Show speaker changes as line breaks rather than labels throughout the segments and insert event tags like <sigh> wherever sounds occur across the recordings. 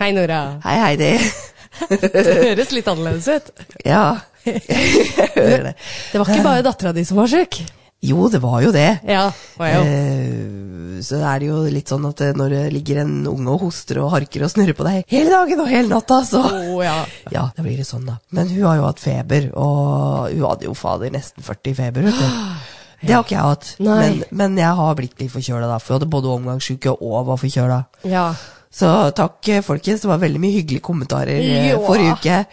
Hei, Nora.
Hei, Heidi. <laughs>
Det høres litt annerledes ut.
Ja, jeg hører det.
Det var ikke bare dattera di som var sjuk.
Jo, det var jo det.
Ja, var jeg jo.
Eh, Så er det jo litt sånn at eh, når det ligger en unge og hoster og harker og snurrer på deg hele dagen og hele natta, så <laughs>
Å, ja.
Oh, Ja, da blir det sånn, da. Men hun har jo hatt feber, og hun hadde jo fader nesten 40 i feber,
<gasps>
vet du. Det har ikke jeg hatt,
Nei.
men, men jeg har blitt litt forkjøla da. For jeg hadde både omgangssjuke og var forkjøla.
ja.
Så takk, eh, folkens. Det var veldig mye hyggelige kommentarer eh,
Jo,
forrige uke. Når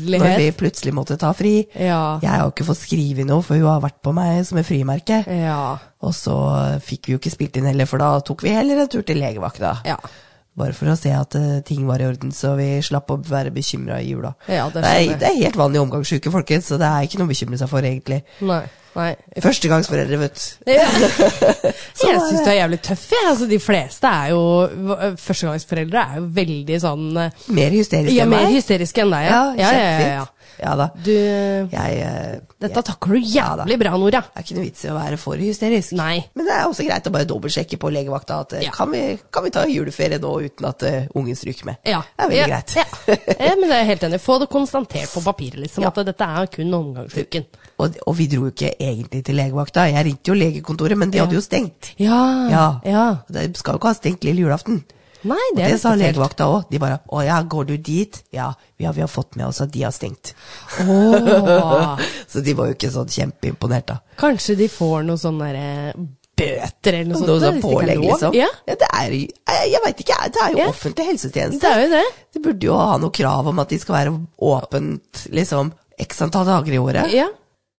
vi
Herlighet.
plutselig måtte ta fri.
Ja.
Jeg har jo ikke fått skrive noe, for hun har vært på meg som et frimerke.
Ja.
Og så eh, fikk vi jo ikke spilt inn heller, for da tok vi heller en tur til legevakta.
Ja.
Bare for å se at eh, ting var i orden, så vi slapp å være bekymra i jula.
Ja, det
det,
skjønner jeg.
er, det er helt vanlig omgangssyke, folkens, så det er ikke noe å bekymre seg for, egentlig.
Nei. Nei.
Førstegangsforeldre, vet
<laughs>
du.
Ja.
Så
jeg
var
syns
det.
du er jævlig tøff, jeg. Altså, de fleste er jo Førstegangsforeldre er jo veldig sånn eh,
Mer hysterisk
Ja,
enn
mer
meg.
hysteriske enn deg, ja.
Ja,
Ja, ja, ja, ja.
kjempefint. Ja da.
Du eh,
Jeg, eh,
Dette takler du jævlig bra, Nora.
Det er ikke noe vits i å være for hysterisk.
Nei.
Men det er også greit å bare dobbeltsjekke på legevakta at eh,
Ja.
kan, vi, kan vi ta juleferie nå uten at eh, ungen stryker med?
Ja.
Det er veldig
ja,
greit.
Ja. ja, men det er jeg helt enig. i. Få det konstatert på papiret, liksom,
Ja.
at dette er kun omgangsuken.
<laughs> og, og vi dro jo ikke egentlig til legevakta. Jeg ringte jo legekontoret, men de hadde jo stengt.
Ja. ja.
Og De skal jo ikke ha stengt lille julaften.
Nei,
Og
det
det
er
sa
litt spesielt.
legevakta òg. De bare 'Å ja, går du dit?' Ja, vi har, vi har fått med oss at de har stengt.
Åh.
<laughs> Så de var jo ikke sånn kjempeimponert, da.
Kanskje de får noe sånn derre bøter eller noe sånt.
Noe
da,
sånn
hvis det ikke er
pålegg,
lov.
liksom.
Ja.
Ja, det er, jo- jeg jeg veit ikke, jeg. det er jo
Ja.
offentlig helsetjeneste.
Det er jo det.
De burde jo ha noe krav om at de skal være åpent liksom, x antall dager i året.
Ja.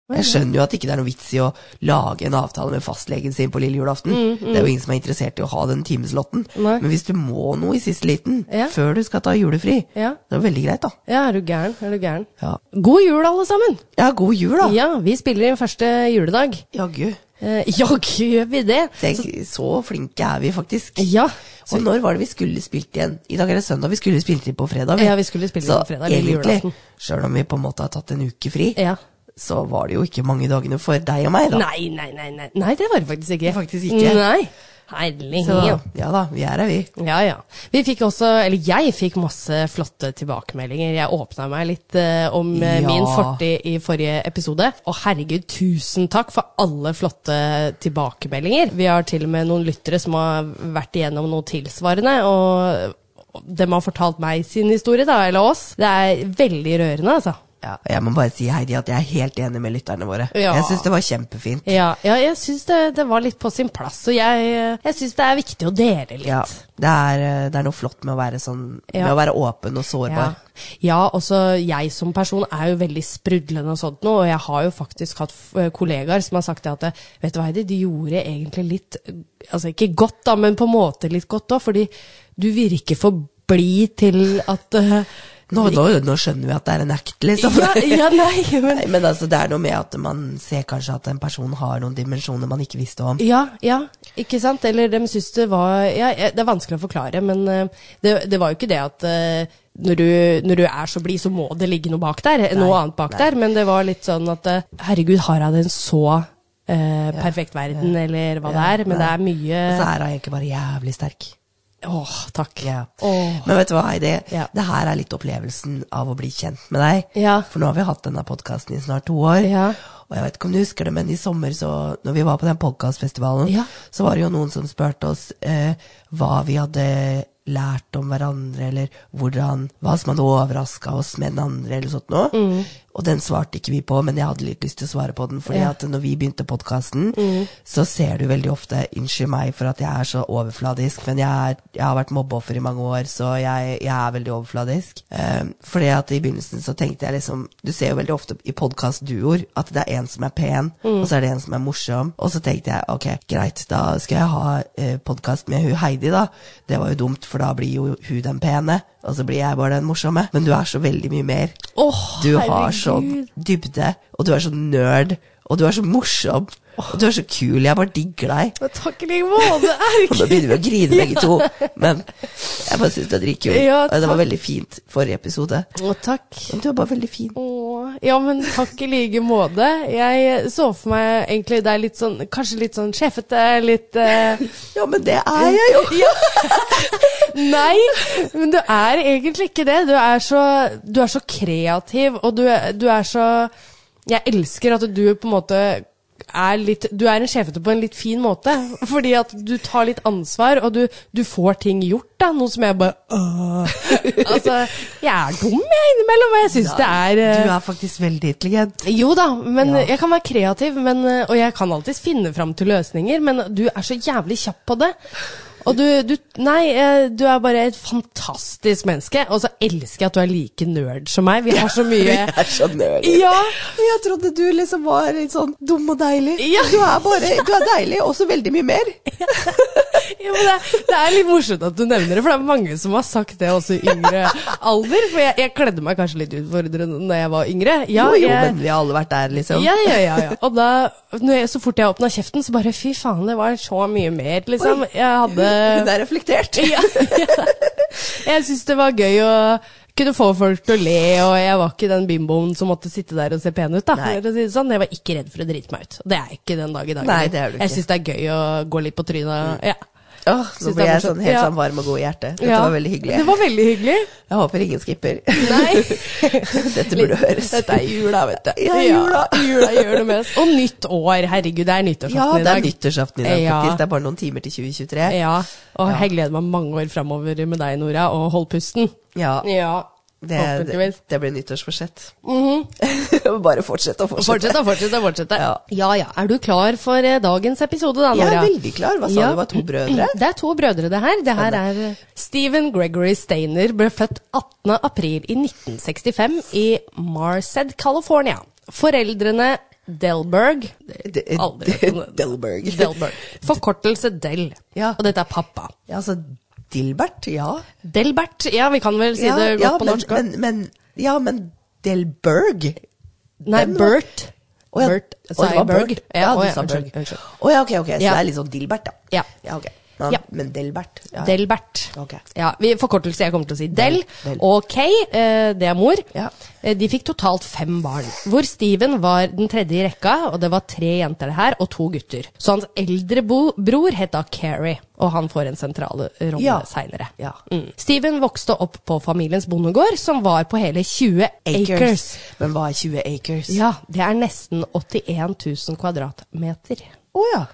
Jeg skjønner jo at det ikke er noe vits i å lage en avtale med fastlegen sin på lille julaften. Det er jo ingen som er interessert i å ha den timeslotten.
Mm, Nei.
Men hvis du må noe i siste liten,
Ja.
før du skal ta julefri,
Ja.
det er jo veldig greit, da.
ja, er du gæren? Er du gæren?
Ja,
God jul, alle sammen!
ja god jul, da.
Ja, vi spiller inn første juledag.
Jaggu.
Eh, Jaggu <laughs> gjør vi det!
Tenk, så flinke er vi faktisk.
Ja.
Og når var det vi skulle spilt igjen? I dag er det søndag, vi skulle spilt inn på fredag.
Ja, vi skulle spilt inn
Så
på fredag, lille julaften.
egentlig, sjøl om vi på en måte har tatt en uke fri,
ja.
så var det jo ikke mange dagene for deg og meg, da.
Nei, nei, nei, nei. Nei, det var det faktisk ikke.
Faktisk ikke.
Nei. Herlighet.
Så ja da, vi er her, vi.
Ja, ja. Vi fikk også, eller jeg fikk masse flotte tilbakemeldinger. Jeg åpna meg litt eh, om eh,
Ja.
min fortid i forrige episode. Og herregud, tusen takk for alle flotte tilbakemeldinger. Vi har til og med noen lyttere som har vært igjennom noe tilsvarende. og de har fortalt meg sin historie, da, eller oss. Det er veldig rørende, altså.
Ja, og jeg må bare si Heidi at jeg er helt enig med lytterne våre.
Ja.
Jeg syns det var kjempefint.
Ja, ja jeg syns det, det var litt på sin plass. Og jeg, eh, jeg syns det er viktig å dele litt.
Ja, det er, eh, det er noe flott med å være sånn
Ja.
Med å være åpen og sårbar.
Ja, ja også jeg som person er jo veldig sprudlende og sånt nå, og jeg har jo faktisk hatt eh, kollegaer som har sagt det at eh, vet du hva Heidi, du gjorde egentlig litt, eh, altså ikke godt da, men på en måte litt godt da, fordi du virker for blid til at eh,
Nå, nå, nå skjønner vi at det er en act, liksom.
ja, ja, nei, men
<laughs> Nei, men altså, det er noe med at man ser kanskje at en person har noen dimensjoner man ikke visste om.
Ja, ja, ikke sant? Eller de syns det var ja, ja, Det er vanskelig å forklare, men eh, det, det var jo ikke det at eh, når du, når du er så blid, så må det ligge noe bak der. noe annet bak der. Men det var litt sånn at eh, herregud, har hun en så eh, perfekt verden, eller hva det er? Men det er mye
Og så er hun egentlig bare jævlig sterk.
Åh, takk.
Altså- Ja.
Åh.
Men vet du hva, Heidi?
Ja.
Det her er litt opplevelsen av å bli kjent med deg.
Ja.
For nå har vi hatt denne podkasten i snart to år.
Ja.
Og jeg vet ikke om du husker det, men i sommer, så, når vi var på den podkastfestivalen,
Ja.
så var det jo noen som spurte oss eh, hva vi hadde
Mm.
lært om hverandre, eller hvordan, hva som hadde overraska oss med den andre, eller sånt noe. Og den svarte ikke vi på, men jeg hadde litt lyst til å svare på den. fordi
Ja. Mm.
at når vi begynte podkasten, så ser du veldig ofte Unnskyld meg for at jeg er så overfladisk, men jeg, er, jeg har vært mobbeoffer i mange år, så jeg, jeg er veldig overfladisk. Um, fordi at i begynnelsen så tenkte jeg liksom Du ser jo veldig ofte i podkastduoer at det er en som er pen, og så er det en som er morsom. Og så tenkte jeg ok, greit, da skal jeg ha eh, podkast med hun Heidi, da. Det var jo dumt, for da blir jo hun den pene, og så blir jeg bare den morsomme. Men du er så veldig mye mer.
Åh,
Du har
herregud.
sånn dybde, og du er så nerd, og du er så morsom, og du er så kul. Jeg bare digger deg.
Men Takk i like måte,
Og nå <laughs>
Erk.
begynner vi å grine begge to, men jeg bare syns du er dritkul.
Ja,
og det var
takk.
veldig fint forrige episode.
Å, takk.
Men du er bare veldig fin.
Åh, ja, men takk i like måte. Jeg så for meg egentlig deg litt sånn, kanskje litt sånn sjefete, litt eh,
Ja, men det er jeg jo!
Ja. Nei, men du er egentlig ikke det. Du er så, du er så kreativ, og du, er- du er så Jeg elsker at du på en måte er litt Du er en sjefete på en litt fin måte. Fordi at du tar litt ansvar, og du, du får ting gjort, da. Noe som jeg bare «Åh». Altså, jeg er dum, jeg, innimellom, og jeg syns det er eh,
Du er faktisk veldig intelligent.
jo da, men
Ja.
jeg kan være kreativ, men, eh, og jeg kan alltids finne fram til løsninger, men du er så jævlig kjapp på det. Og du, du Nei, eh, du er bare et fantastisk menneske, og så elsker jeg at du er like nerd som meg. Vi har så
Vi
mye
er så nerd.
Ja!
Jeg trodde du liksom var litt sånn dum og deilig.
Ja.
Du er bare du er deilig, og så veldig mye mer.
ja men det, det er litt morsomt at du nevner det, for det er mange som har sagt det også i yngre alder. For jeg, jeg kledde meg kanskje litt utfordrende da jeg var yngre. Ja,
Jo, jo,
jeg,
men vi har alle vært der, liksom.
Ja, ja, ja, ja. Og da, når jeg, så fort jeg åpna kjeften, så bare fy faen, det var så mye mer, liksom. Jeg hadde
Hun er reflektert.
ja, ja. Jeg syns det var gøy å kunne få folk til å le, og jeg var ikke den bimboen som måtte sitte der og se pen ut, da.
Nei.
For å si det sånn. Jeg var ikke redd for å drite meg ut. Og det er jeg ikke den dag i dag.
Nei, det er du ikke.
Jeg syns det er gøy å gå litt på trynet. Ja.
<laughs> Åh, nå
Synes det
ble
er
jeg
morsomt.
sånn helt
Ja.
sånn varm og god i hjertet. Dette
Ja.
var veldig hyggelig.
Det var veldig hyggelig.
Jeg håper ingen skipper.
<laughs> Nei.
<laughs> Dette burde høres.
Dette er jula, vet du.
Ja, jula.
jula gjør det mest. Og nytt år. Herregud, det er nyttårsaften
Ja,
i
det er
dag.
nyttårsaften i dag,
Ja.
faktisk. Det er bare noen timer til 2023.
Ja, og
Ja.
jeg gleder meg mange år framover med deg, Nora, og hold pusten.
Ja,
Ja,
det, det,
forhåpentligvis. Mhm.
det blir nyttårsforsett. <laughs> Bare fortsett og fortsette.
Fortsett, da, fortsett, da, fortsett. da.
Ja.
ja ja. Er du klar for eh, dagens episode, da,
Jeg
Nora?
er veldig klar. Hva sa
Ja.
du, var to
<laughs>
brødre?
Det er to brødre, det her. Det her er eh, Stephen Gregory Stainer ble født 18. april i 1965 i Marced, California. Foreldrene Delberg
De-
Aldri hørt om det.
<laughs> Delberg.
Delberg. Forkortelse Del.
Ja.
Og dette er pappa.
Ja, altså, Dilbert, ja.
Delbert, ja, vi kan vel si
ja,
det godt
ja,
på
men,
norsk. også.
men, men, ja, men Delberg?
Nei,
Den var-
Bert.
Å, ja.
Bert,
Å,
sa
det
jeg
var
Berg?
Berg. Ja,
å,
du sa
unnskyld,
Berg.
unnskyld.
Å ja, ok, ok. Så
Ja.
det er litt sånn Dilbert, da.
Ja.
ja ok. Ja,
Ja.
Men Delbert. Ja.
Delbert.
Ok.
Ja, vi, forkortelse jeg kommer til å si. Del,
Del.
og Kay, eh, det er mor.
Ja.
Eh, De fikk totalt fem barn, hvor Steven var den tredje i rekka, og det var tre jenter det her, og to gutter. Så hans eldre bo bror het da Carrie, og han får en sentral rolle
Ja.
seinere.
Ja.
Mm. Steven vokste opp på familiens bondegård, som var på hele 20
Acres.
acres.
Men hva er 20 acres?
Ja, det er nesten 81 000 kvadratmeter.
Å ja.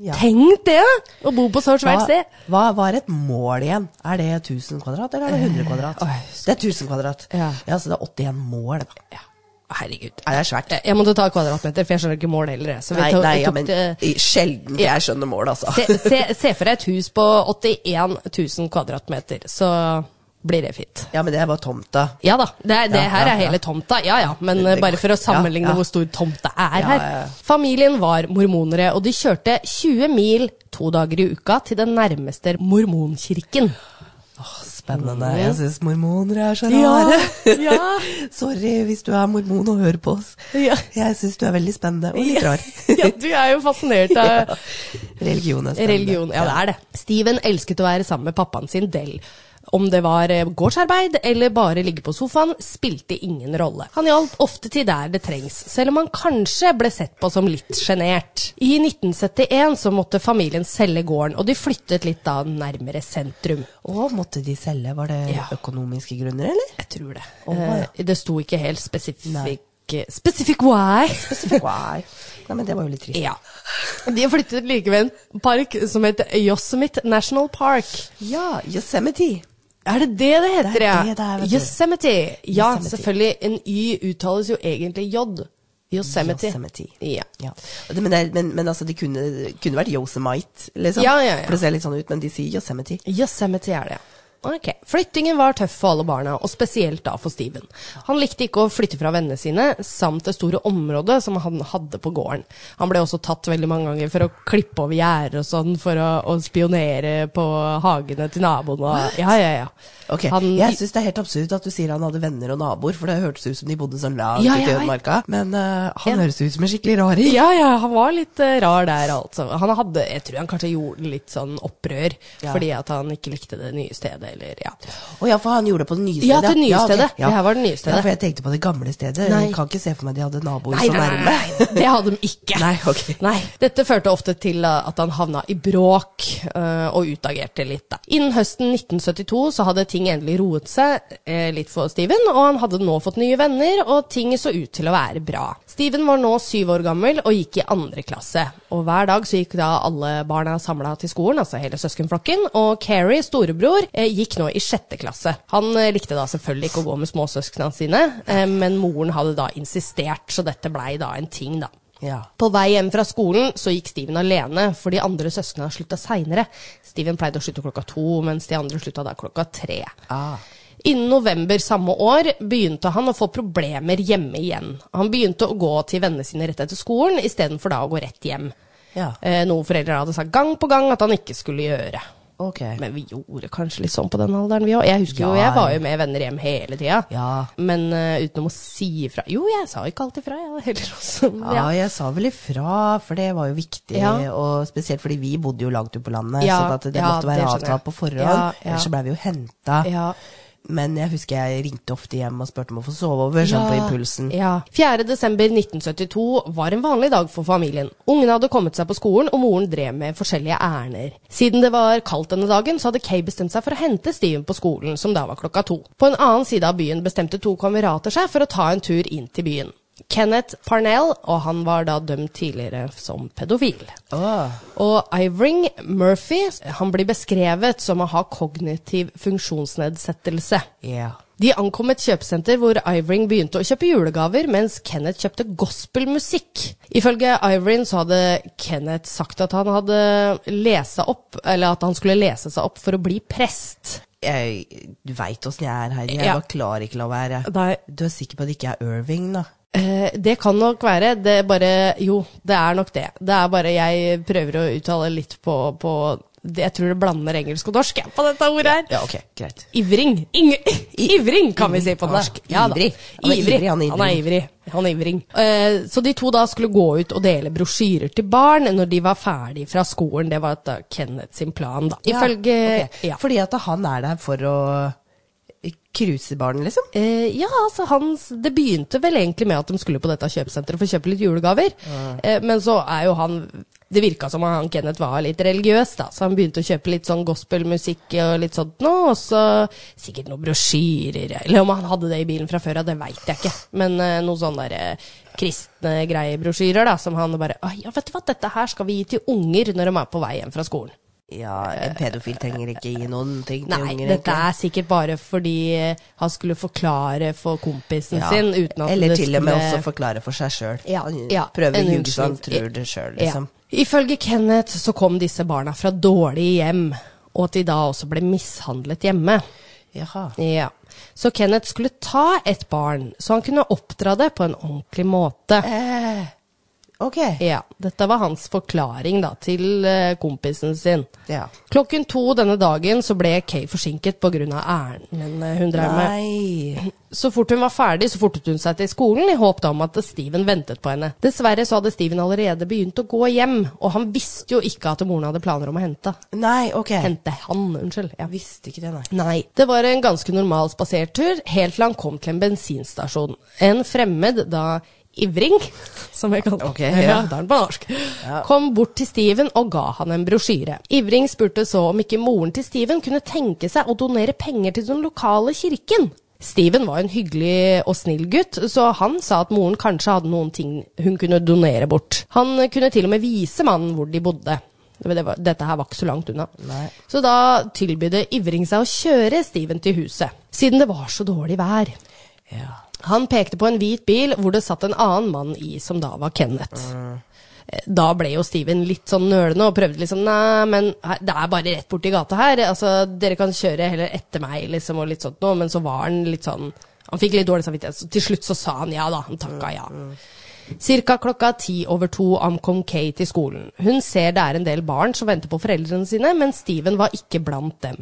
ja.
Tenk det! Å bo på så svært
Hva,
sted.
hva, hva er et mål igjen? Er det 1000 kvadrat, eller er det 100 kvadrat?
oi.
Det er 1000 kvadrat.
Ja.
så det er 81 mål, da.
Ja. Herregud.
Nei, det er svært.
Jeg- Jeg måtte ta kvadratmeter, for jeg skjønner ikke mål heller. jeg. Så Eh, vi
Nei,
tok,
nei, ja,
tok
men
det-
i- sjelden jeg skjønner mål, altså.
se, se, se for deg et hus på 81 000 kvadratmeter, så blir det fint.
<laughs> Ja, men det er bare tomta.
Ja da, det, er- det
Ja,
her
ja,
er hele
ja.
tomta. Ja ja, men eh, bare for å sammenligne
Ja, ja.
hvor stor tomta er
Ja,
her.
ja, ja.
Familien var mormonere, og de kjørte 20 mil to dager i uka til den nærmeste mormonkirken.
Åh, Spennende. Jeg syns mormoner er så
Mm. Ja, <laughs>
rare.
ja.
<laughs> Sorry hvis du er mormon og hører på oss.
Ja.
Jeg syns du er veldig spennende og litt rar.
ja, du er jo fascinert av
Religion er spennende.
Religion, ja det er det. Steven elsket å være sammen med pappaen sin Del. Om det var eh, gårdsarbeid eller bare ligge på sofaen, spilte ingen rolle. Han hjalp ofte til der det trengs, selv om han kanskje ble sett på som litt sjenert. I 1971 så måtte familien selge gården, og de flyttet litt da nærmere sentrum.
Og måtte de selge? Var det
Ja.
økonomiske grunner, eller?
Jeg tror det.
Å, ja.
Eh, Det sto ikke helt spesifikk
Nei.
Specific why?
Nei. Nei, men det var jo litt trist.
Ja. De flyttet likevel en park som het Yosemite National Park.
Ja, Ah, Yosemite.
Er det det det heter,
Det er
ja?
det det er, vet du.
Yosemite. Ja,
Yosemite.
selvfølgelig. En Y uttales jo egentlig J. Yosemite.
Yosemite.
Ja.
Ja. Og det- Men, det, er- men, men altså, det kunne, kunne vært Yosemite, liksom.
Ja, ja, ja.
For det ser litt sånn ut, men de sier Yosemite.
Yosemite er det, ja. Ok. Flyttingen var tøff for alle barna, og spesielt da for Steven. Han likte ikke å flytte fra vennene sine, samt det store området som han hadde på gården. Han ble også tatt veldig mange ganger for å klippe over gjerder og sånn, for å, å spionere på hagene til naboen og Ja, ja, ja.
Ok,
Han,
Jeg syns det er helt absurd at du sier han hadde venner og naboer, for det hørtes ut som de bodde sånn langt
Ja,
ute i
jeg vet.
ødemarka. Men eh, han
En-
høres ut som en skikkelig raring.
Ja, ja, han var litt eh, rar der, altså. Han hadde, jeg tror han kanskje gjorde litt sånn opprør,
Ja.
fordi at han ikke likte det nye stedet, eller ja.
Å ja, for han gjorde det på det nye stedet.
Ja, til det nye
ok,
stedet. Det her var det nye
Ja,
stedet.
for jeg tenkte på det gamle stedet.
Nei.
Jeg kan ikke se for meg de hadde naboer så nærme.
det hadde de ikke.
Nei, ok.
Nei. Dette førte ofte til eh, at han havna i bråk eh, og utagerte litt. Da. Innen høsten 1972 så hadde ting endelig roet seg eh, litt for Steven, og han hadde nå fått nye venner, og ting så ut til å være bra. Steven var nå syv år gammel og gikk i andre klasse. Og hver dag så gikk da alle barna samla til skolen, altså hele søskenflokken, og Carrie, storebror, eh, gikk nå i sjette klasse. Han eh, likte da selvfølgelig ikke å gå med småsøsknene sine, eh, men moren hadde da insistert, så dette blei da en ting, da.
Ja.
På vei hjem fra skolen så gikk Steven alene, for de andre søsknene slutta seinere. Steven pleide å slutte klokka to, mens de andre slutta da klokka tre.
Ah.
Innen november samme år begynte han å få problemer hjemme igjen. Han begynte å gå til vennene sine rett etter skolen, istedenfor da å gå rett hjem.
Ja.
Eh, noe foreldre hadde sagt gang på gang at han ikke skulle gjøre.
Ok.
Men vi gjorde kanskje litt sånn på den alderen, vi òg. Jeg husker jo,
Ja.
jeg var jo med venner hjem hele tida.
Ja.
Men eh, utenom å si ifra Jo, jeg sa ikke alltid ifra, jeg da, heller også. Men
Ja, jeg sa vel ifra, for det var jo viktig.
Ja.
Og spesielt fordi vi bodde jo langt ute på landet,
Ja,
sånn at det
ja,
måtte være
det skjønner jeg.
avtalt på forhånd.
Ja, ja.
Ellers så blei vi jo henta.
Ja.
Men jeg husker jeg ringte ofte hjem og spurte om å få sove over, sånn på impulsen.
Ja. 4. desember 1972 var en vanlig dag for familien. Ungene hadde kommet seg på skolen, og moren drev med forskjellige ærender. Siden det var kaldt denne dagen, så hadde Kay bestemt seg for å hente Steven på skolen, som da var klokka to. På en annen side av byen bestemte to kamerater seg for å ta en tur inn til byen. Kenneth Parnell, og han var da dømt tidligere som pedofil.
Åh.
Og Ivring Murphy, han blir beskrevet som å ha kognitiv funksjonsnedsettelse.
Ja.
De ankom et kjøpesenter hvor Ivring begynte å kjøpe julegaver, mens Kenneth kjøpte gospelmusikk. Ifølge Ivring så hadde Kenneth sagt at han hadde lesa opp, eller at han skulle lese seg opp for å bli prest.
Jeg, du veit åssen jeg er, Heidi. Jeg
Ja.
bare klarer ikke la være.
Nei.
Du er sikker på at det ikke er Irving, da?
Eh, det kan nok være. Det er bare Jo, det er nok det. Det er bare jeg prøver å uttale litt på, på det- Jeg tror det blander engelsk og norsk jeg, på dette ordet her.
Ja, ok, greit.
Ivring. Inge, <laughs> ivring, kan vi si på norsk. Ja, da.
Ivrig. Han er ivrig, han er
Han er ivrig. Han er ivring. Eh, så de to da skulle gå ut og dele brosjyrer til barn når de var ferdig fra skolen. Det var da Kenneth sin plan, da. Ifølge
ja,
ja,
ok. Fordi at han er der for å eh, cruise barn, liksom?
Eh, ja, altså hans, Det begynte vel egentlig med at de skulle på dette kjøpesenteret for å kjøpe litt julegaver. Eh, men så er jo han Det virka som han Kenneth var litt religiøs, da. Så han begynte å kjøpe litt sånn gospelmusikk og litt sånt nå. Og så sikkert noen brosjyrer. Eller om han hadde det i bilen fra før av, det veit jeg ikke. Men eh, noen sånne der, eh, kristne greiebrosjyrer da, som han bare «Å, Ja, vet du hva, dette her skal vi gi til unger når de er på vei hjem fra skolen.
Ja, en pedofil trenger ikke gi noen ting til
Nei,
unger.
dette
egentlig.
er sikkert bare fordi eh, han skulle forklare for kompisen
Ja.
sin uten at
Eller
det
til og med
skulle-
også forklare for seg sjøl.
Ja, ja,
Prøver
en
å ljuge så han
unnskyldning.
tror det sjøl, liksom.
Ja. Ifølge Kenneth så kom disse barna fra dårlige hjem, og at de da også ble mishandlet hjemme.
Jaha.
Ja. Så Kenneth skulle ta et barn, så han kunne oppdra det på en ordentlig måte.
Eh, ok.
Ja, dette var hans forklaring da, til eh, kompisen sin.
Ja.
Klokken to denne dagen så ble Kay forsinket pga. ærenden eh, hun drev med.
Nei.
Så fort hun var ferdig, så fortet hun seg til skolen i håp da om at Steven ventet på henne. Dessverre så hadde Steven allerede begynt å gå hjem, og han visste jo ikke at moren hadde planer om å hente.
Nei, ok.
Hente han, unnskyld. Ja.
Jeg visste ikke det, nei.
Nei. Det var en ganske normal spasertur, helt til han kom til en bensinstasjon. En fremmed, da Ivring, <laughs> som jeg kaller
Ok,
ja.
ja.
det er den på norsk, kom bort til Steven og ga han en brosjyre. Ivring spurte så om ikke moren til Steven kunne tenke seg å donere penger til den lokale kirken. Steven var en hyggelig og snill gutt, så han sa at moren kanskje hadde noen ting hun kunne donere bort. Han kunne til og med vise mannen hvor de bodde. Det- det var- Dette her var ikke så langt unna.
Nei.
Så da tilbydde Ivring seg å kjøre Steven til huset, siden det var så dårlig vær.
Ja.
Han pekte på en hvit bil hvor det satt en annen mann i, som da var Kenneth. Eh, Da ble jo Steven litt sånn nølende og prøvde liksom Nei, men her- det er bare rett borti gata her. Altså, dere kan kjøre heller etter meg, liksom, og litt sånt noe. Men så var han litt sånn Han fikk litt dårlig samvittighet. Så til slutt så sa han ja, da. Han takka ja. Cirka klokka ti over to ankom Kay til skolen. Hun ser det er en del barn som venter på foreldrene sine, men Steven var ikke blant dem.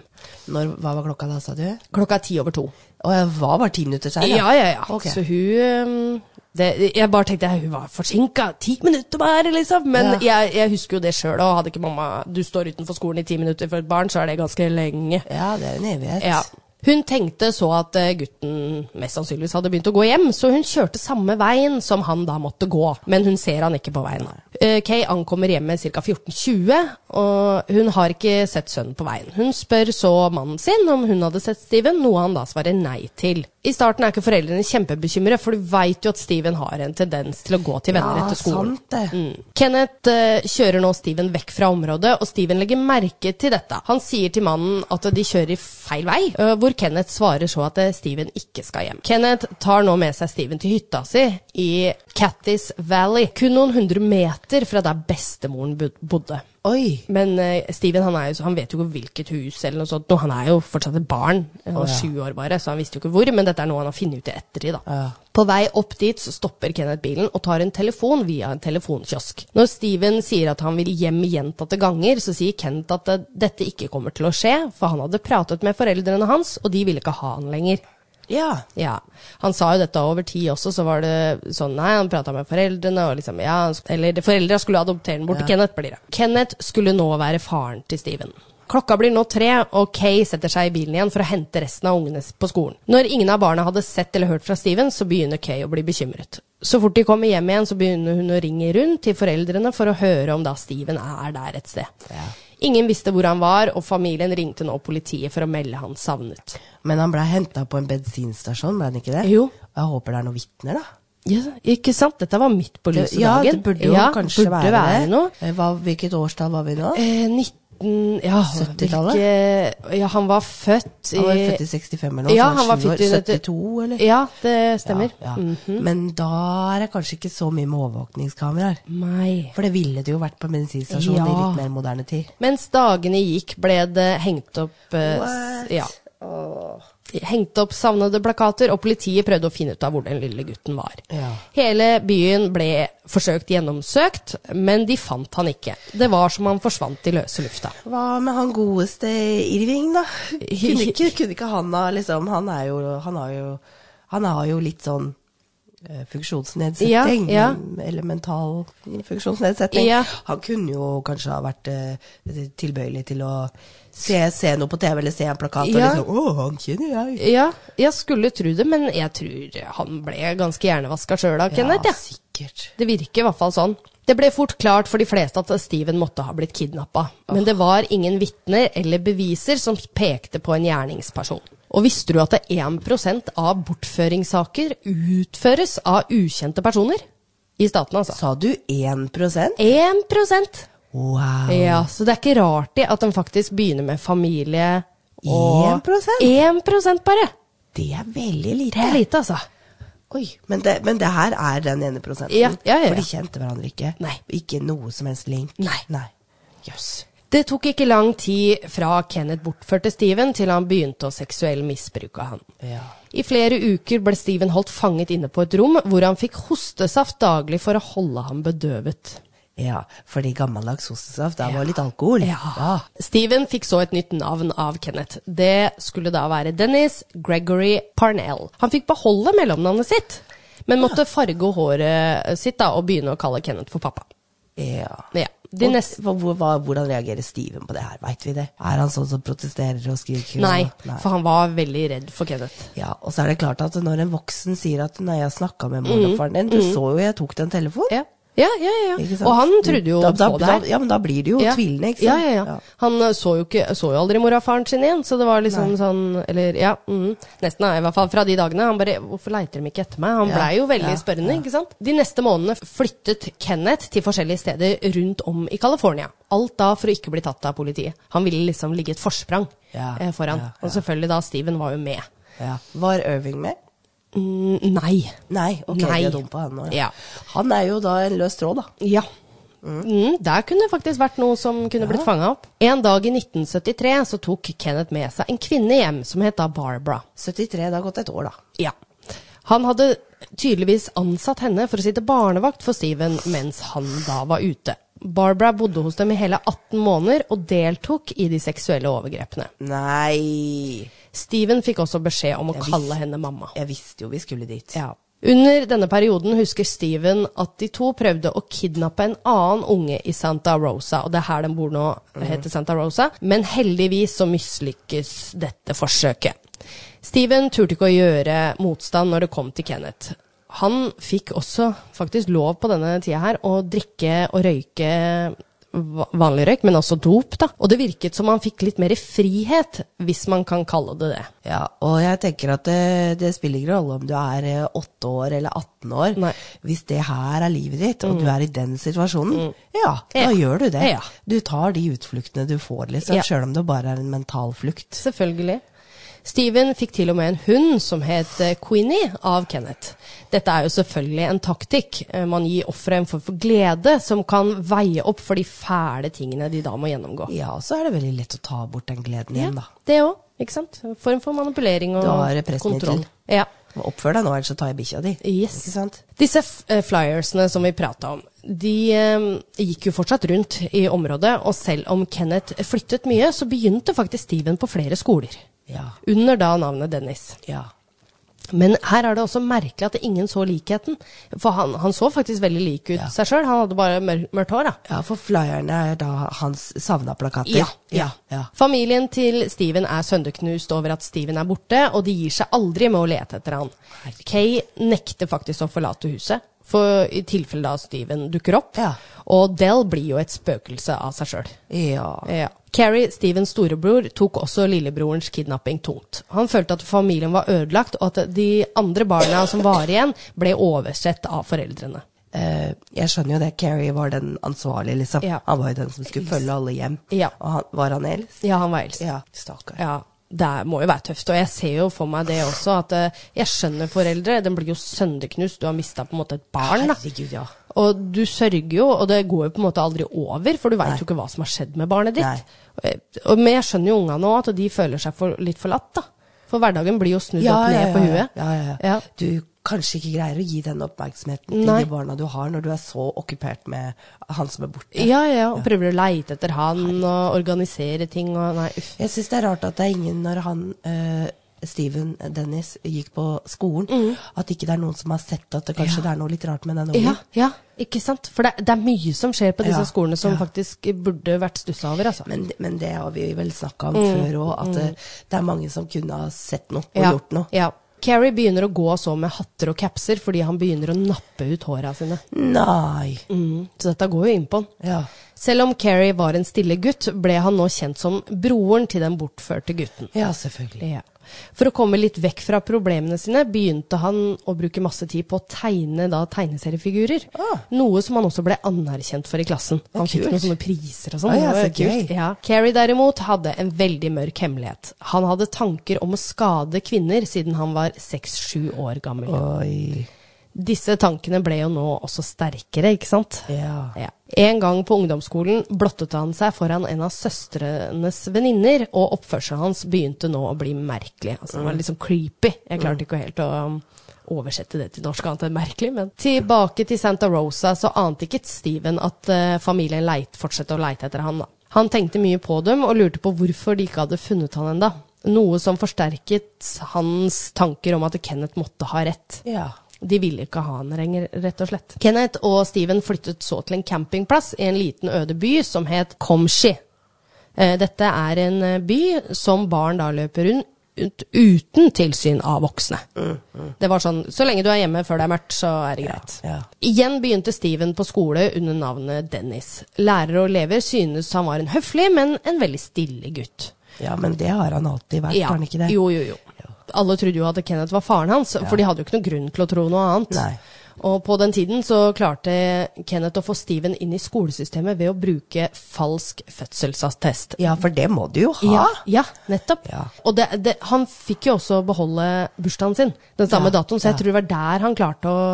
Når, hva var klokka da, sa du?
Klokka ti over to.
Å, jeg var bare ti minutter sein.
Ja, ja, ja.
Ok.
Så hun um, det, Jeg bare tenkte hun var forsinka. Ti minutter bare, liksom. Men jeg, jeg husker jo det sjøl, og hadde ikke mamma Du står utenfor skolen i ti minutter for et barn, så er det ganske lenge.
Ja, det er en evighet.
Ja. Hun tenkte så at eh, gutten mest sannsynligvis hadde begynt å gå hjem, så hun kjørte samme veien som han da måtte gå. Men hun ser han ikke på veien. Eh, Kay ankommer hjemmet ca. 14.20, og hun har ikke sett sønnen på veien. Hun spør så mannen sin om hun hadde sett Steven, noe han da svarer nei til. I starten er ikke foreldrene kjempebekymret, for du veit jo at Steven har en tendens til å gå til venner
Ja,
etter skolen.
Ah, sant det.
Mm. Kenneth eh, kjører nå Steven vekk fra området, og Steven legger merke til dette. Han sier til mannen at de kjører i feil vei, eh, hvor Kenneth svarer så at eh, Steven ikke skal hjem. Kenneth tar nå med seg Steven til hytta si i Cattis Valley, kun noen hundre meter fra der bestemoren bod- bodde.
Oi.
Men eh, Steven han, er jo, så- han vet jo ikke hvilket hus eller noe sånt. Nå, han er jo fortsatt et barn. Han var
Å, ja.
sju år bare, så han visste jo ikke hvor. Men dette er noe han har funnet ut i ettertid. da.
Ja.
På vei opp dit så stopper Kenneth bilen og tar en telefon via en telefonkiosk. Når Steven sier at han vil hjem gjentatte ganger, så sier Kenneth at eh, dette ikke kommer til å skje, for han hadde pratet med foreldrene hans, og de ville ikke ha han lenger.
Ja.
Ja. Han sa jo dette over tid også, så var det sånn Nei, han prata med foreldrene, og liksom Ja, han sk- eller foreldra skulle adoptere den bort til Kenneth, blir det. Kenneth skulle nå være faren til Steven. Klokka blir nå tre, og Kay setter seg i bilen igjen for å hente resten av ungene s- på skolen. Når ingen av barna hadde sett eller hørt fra Steven, så begynner Kay å bli bekymret. Så fort de kommer hjem igjen, så begynner hun å ringe rundt til foreldrene for å høre om da Steven er der et sted. Ingen visste hvor han var, og familien ringte nå politiet for å melde han savnet.
Men han blei henta på en bensinstasjon, ble han ikke det?
Jo.
Og Jeg håper det er noen vitner, da.
Ja, ikke sant? Dette var midt på lyse
ja,
dagen.
det burde jo
Ja,
kanskje
burde
være,
være
det.
noe.
Eh, Hva, hvilket årstall var vi nå?
Eh, 19... Ja,
70-tallet?
hvilke- Ja, han var født i
Han var født i 65 eller noe,
Ja,
så
han var
sju år,
født i
72 eller?
Ja, det stemmer. Mm. Mhm.
Ja, ja. Men da er det kanskje ikke så mye med overvåkningskameraer.
Nei.
For det ville det jo vært på en bensinstasjon
Ja.
i litt mer moderne tid.
Mens dagene gikk, ble det hengt opp eh, s-
What?
Ja. Hengt opp savnede plakater, og politiet prøvde å finne ut av hvor den lille gutten var.
Ja.
Hele byen ble forsøkt gjennomsøkt, men de fant han ikke. Det var som han forsvant i løse lufta.
Hva med han godeste Irving,
<laughs>
da? Kunne ikke, kunne ikke han ha liksom Han er jo Han har jo, han har jo litt sånn eh, funksjonsnedsetting.
Ja, ja.
Eller mental funksjonsnedsetting.
Ja.
Han kunne jo kanskje ha vært eh, tilbøyelig til å se, se noe på TV eller se en plakat
Ja.
og liksom Å, han kjenner jeg.
Ja, jeg skulle tro det, men jeg tror han ble ganske hjernevaska sjøl av Kenneth. Ja.
sikkert.
Det virker i hvert fall sånn. Det ble fort klart for de fleste at Steven måtte ha blitt kidnappa, men det var ingen vitner eller beviser som pekte på en gjerningsperson. Og visste du at det er 1 av bortføringssaker utføres av ukjente personer? I staten, altså.
Sa du 1
1
Wow.
Ja, så det er ikke rart de at de faktisk begynner med familie og
1%?
1 bare.
Det er veldig
Det
lite.
er lite, altså.
Oi, men det, men det her er den ene prosenten.
Ja, ja, ja,
For
ja.
de kjente hverandre ikke.
Nei.
Ikke noe som helst link.
Nei.
Jøss.
Det tok ikke lang tid fra Kenneth bortførte Steven til han begynte å seksuell misbruke han.
Ja.
I flere uker ble Steven holdt fanget inne på et rom hvor han fikk hostesaft daglig for å holde ham bedøvet.
ja. Fordi gammeldags hostesaft, der var litt alkohol.
Ja. Steven fikk så et nytt navn av Kenneth. Det skulle da være Dennis Gregory Parnell. Han fikk beholde mellomnavnet sitt, men måtte farge håret sitt da, og begynne å kalle Kenneth for pappa.
ja.
Ja. De
Og
neste...
hva- hvor- hva- hvordan reagerer Steven på det her, veit vi det? Er han sånn som protesterer og skriker?
Nei,
og, nei.
for han var veldig redd for Kenneth.
Ja, Og så er det klart at når en voksen sier at 'nei, jeg snakka med mor og faren din', du så jo jeg tok den telefonen.
Mm. Ja. Ja, ja, ja.
Ikke sant?
Og han trodde jo
da, da,
på det her.
Da, ja, men da blir det jo tvilende, ikke
Ja,
sant?
ja, ja. Han eh, så jo, ikke, så jo aldri mora og faren sin igjen, så det var liksom sånn Eller ja, mm, nesten da, i hvert fall fra de dagene. Han bare 'Hvorfor leiter de ikke etter meg?' Han
Ja,
blei jo veldig
ja,
spørrende, ikke sant? De neste månedene flyttet Kenneth til forskjellige steder rundt om i California. Alt da for å ikke bli tatt av politiet. Han ville liksom ligge et forsprang
Ja,
eh, foran.
ja, ja.
Og selvfølgelig da, Steven var jo med.
Ja. Var Irving med?
Mm, nei.
Nei, ok,
Nei.
de er dum på han nå.
Ja.
Han er jo da en løs tråd, da.
Ja. Mm, der kunne det faktisk vært noe som kunne blitt fanga opp. En dag i 1973 så tok Kenneth med seg en kvinne hjem som het da Barbara.
73, det har gått et år, da.
Ja. Han hadde tydeligvis ansatt henne for å sitte barnevakt for Steven mens han da var ute. Barbara bodde hos dem i hele 18 måneder og deltok i de seksuelle overgrepene.
Nei
Steven fikk også beskjed om å
Jeg visste-
kalle henne mamma.
Jeg visste jo vi skulle dit.
Ja. Under denne perioden husker Steven at de to prøvde å kidnappe en annen unge i Santa Rosa, og det er her den bor nå, heter Santa Rosa, men heldigvis så mislykkes dette forsøket. Steven turte ikke å gjøre motstand når det kom til Kenneth. Han fikk også faktisk lov på denne tida her å drikke og røyke va- vanlig røyk, men også dop, da. Og det virket som han fikk litt mer frihet, hvis man kan kalle det det.
Ja, og jeg tenker at det, det spiller ikke rolle om du er eh, 8 år eller 18 år.
Nei. Mm.
Hvis det her er livet ditt, og du er i den situasjonen, ja, da
Ja.
gjør du det.
Ja.
Du tar de utfluktene du får, liksom,
Ja.
sjøl om det bare er en mental flukt.
Selvfølgelig. Steven fikk til og med en hund som het eh, Queenie av Kenneth. Dette er jo selvfølgelig en taktikk. Eh, Man gir offeret en form for glede som kan veie opp for de fæle tingene de da må gjennomgå.
Ja, og så er det veldig lett å ta bort den gleden igjen, da.
Det òg, ikke sant? En form for manipulering og
Du har
kontroll.
pressmiddel.
Ja.
Oppfør deg nå, ellers så tar jeg bikkja di.
Yes.
Ikke sant?
Disse f- eh, flyersene som vi prata om, de eh, gikk jo fortsatt rundt i området, og selv om Kenneth flyttet mye, så begynte faktisk Steven på flere skoler.
Ja.
Under da navnet Dennis.
Ja.
Men her er det også merkelig at ingen så likheten. For han, han så faktisk veldig lik ut
Ja.
seg sjøl. Han hadde bare mør mørkt hår, da.
ja, for flyerne er da hans savna plakater. ja. ja.
Familien til Steven er sønderknust over at Steven er borte, og de gir seg aldri med å lete etter han. Kay nekter faktisk å forlate huset, for i tilfelle da Steven dukker opp.
Ja.
Og Del blir jo et spøkelse av seg sjøl.
ja.
Ja. Carrie, Stevens storebror, tok også lillebrorens kidnapping tungt. Han følte at familien var ødelagt, og at de andre barna som var igjen, ble oversett av foreldrene.
Eh, jeg skjønner jo det, Carrie var den ansvarlige, liksom.
Ja.
Han var jo den som skulle følge alle hjem.
Ja.
Og han, var han eldst?
Ja, han var eldst.
Ja, stakkar.
Ja, det er- må jo være tøft. Og jeg ser jo for meg det også, at eh, jeg skjønner foreldre. Den blir jo sønderknust. Du har mista på en måte et barn, da.
Herregud, ja.
Og du sørger jo, og det går jo på en måte aldri over, for du veit
Nei.
jo ikke hva som har skjedd med barnet ditt.
Nei.
Og- og- Men jeg skjønner jo ungene òg, at de føler seg for, litt forlatt, da. For hverdagen blir jo snudd opp ned på huet.
Ja, ja, ja.
Ja.
Du kanskje ikke greier å gi den oppmerksomheten
Nei.
til de barna du har, når du er så okkupert med han som er borte.
Ja, ja, ja, og prøver å leite etter han og organisere ting og nei, uff.
Jeg syns det er rart at det er ingen når han eh, Steven Dennis gikk på skolen, at ikke det er noen som har sett at det kanskje det er noe litt rart med den ungen.
Ja, ja, ikke sant? For det, det er mye som skjer på disse
Ja,
skolene som
ja.
faktisk burde vært stussa over, altså.
Men, men det har vi vel snakka om før òg, at eh, det er mange som kunne ha sett noe og
Mm. ja,
gjort noe.
Ja. Carrie begynner å gå så med hatter og capser fordi han begynner å nappe ut håra sine.
Nei.
Mm. Så dette går jo inn på han.
Ja.
Selv om Carrie var en stille gutt, ble han nå kjent som broren til den bortførte gutten.
ja, selvfølgelig.
Ja. For å komme litt vekk fra problemene sine, begynte han å bruke masse tid på å tegne da tegneseriefigurer.
Ah.
Noe som han også ble anerkjent for i klassen. Han fikk
kult.
noen sånne priser og sånn.
Ah, ja,
Det var
så
kult.
gøy.
Ja. Carrie derimot hadde en veldig mørk hemmelighet. Han hadde tanker om å skade kvinner siden han var seks-sju år gammel.
Oi.
Disse tankene ble jo nå også sterkere, ikke sant?
Ja.
Ja. En gang på ungdomsskolen blottet han seg foran en av søstrenes venninner, og oppførselen hans begynte nå å bli merkelig. Altså, den var liksom creepy. Jeg klarte ikke helt å um, oversette det til norsk annet enn merkelig, men Tilbake til Santa Rosa så ante ikke Steven at eh, familien leit, fortsatte å leite etter han. da. Han tenkte mye på dem, og lurte på hvorfor de ikke hadde funnet han enda. Noe som forsterket hans tanker om at Kenneth måtte ha rett.
Ja.
De ville ikke ha han lenger, rett og slett. Kenneth og Steven flyttet så til en campingplass i en liten øde by som het Komshi. Eh, Dette er en eh, by som barn da løper rundt, ut, uten tilsyn av voksne. Det var sånn Så lenge du er hjemme før det er mørkt, så er det greit.
ja.
Igjen begynte Steven på skole under navnet Dennis. Lærere og elever synes han var en høflig, men en veldig stille gutt.
Ja, men det har han alltid vært, har han ikke det?
Jo, jo, jo. Alle trodde jo at Kenneth var faren hans, for de hadde jo ikke noen grunn til å tro noe annet.
Nei.
Og på den tiden så klarte Kenneth å få Steven inn i skolesystemet ved å bruke falsk fødselsattest.
Ja, for det må du jo ha.
Ja, ja, nettopp.
Ja.
Og det, det, han fikk jo også beholde bursdagen sin, den samme
Ja,
datoen, så jeg
ja.
tror det var der han klarte å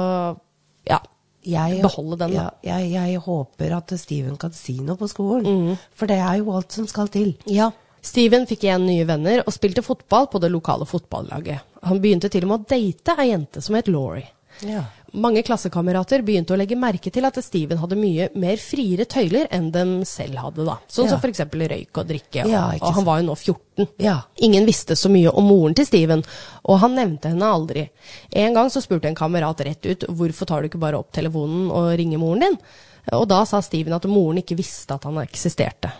ja,
Jeg,
beholde den.
Ja,
da.
jeg, jeg håper at Steven kan si noe på
Mm.
skolen, for det er jo alt som skal til.
Ja. Steven fikk igjen nye venner og spilte fotball på det lokale fotballaget. Han begynte til og med å date ei jente som het Laurie.
Ja.
Mange klassekamerater begynte å legge merke til at Steven hadde mye mer friere tøyler enn dem selv hadde, da. Sånn
Ja.
som f.eks. røyk og drikke, og,
Ja, ikke
og han var jo nå 14.
Ja.
Ingen visste så mye om moren til Steven, og han nevnte henne aldri. En gang så spurte en kamerat rett ut hvorfor tar du ikke bare opp telefonen og ringer moren din? Og da sa Steven at moren ikke visste at han eksisterte.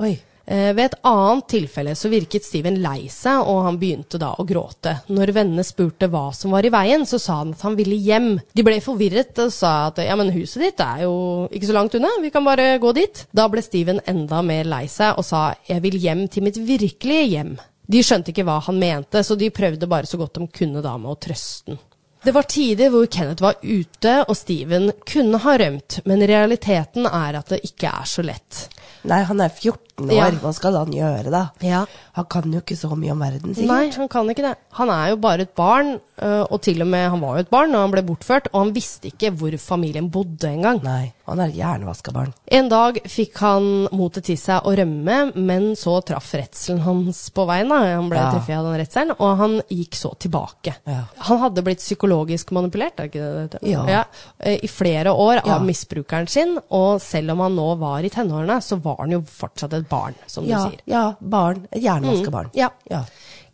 Oi.
Eh, Ved et annet tilfelle så virket Steven lei seg, og han begynte da å gråte. Når vennene spurte hva som var i veien, så sa han at han ville hjem. De ble forvirret og sa at ja, men huset ditt er jo ikke så langt unna, vi kan bare gå dit. Da ble Steven enda mer lei seg og sa jeg vil hjem til mitt virkelige hjem. De skjønte ikke hva han mente, så de prøvde bare så godt de kunne da med å trøste han. Det var tider hvor Kenneth var ute og Steven kunne ha rømt, men realiteten er at det ikke er så lett.
Nei, han er 14 år,
Ja.
hva skal han gjøre da?
Ja.
Han kan jo ikke så mye om verden, sikkert.
Nei, han kan ikke det. Han er jo bare et barn, øh, og til og med han var jo et barn når han ble bortført, og han visste ikke hvor familien bodde engang.
Nei, han er et hjernevaska barn.
En dag fikk han motet til seg å rømme, men så traff redselen hans på veien. Da. Han ble
Ja.
treffet av den redselen, og han gikk så tilbake.
Ja.
Han hadde blitt psykologisk manipulert er ikke det det heter?
Ja.
eh, i flere år
Ja.
av misbrukeren sin, og selv om han nå var i tenårene, så var han jo fortsatt et barn, som
Ja,
du sier.
ja, barn. Et hjernevaska barn.
ja.
ja.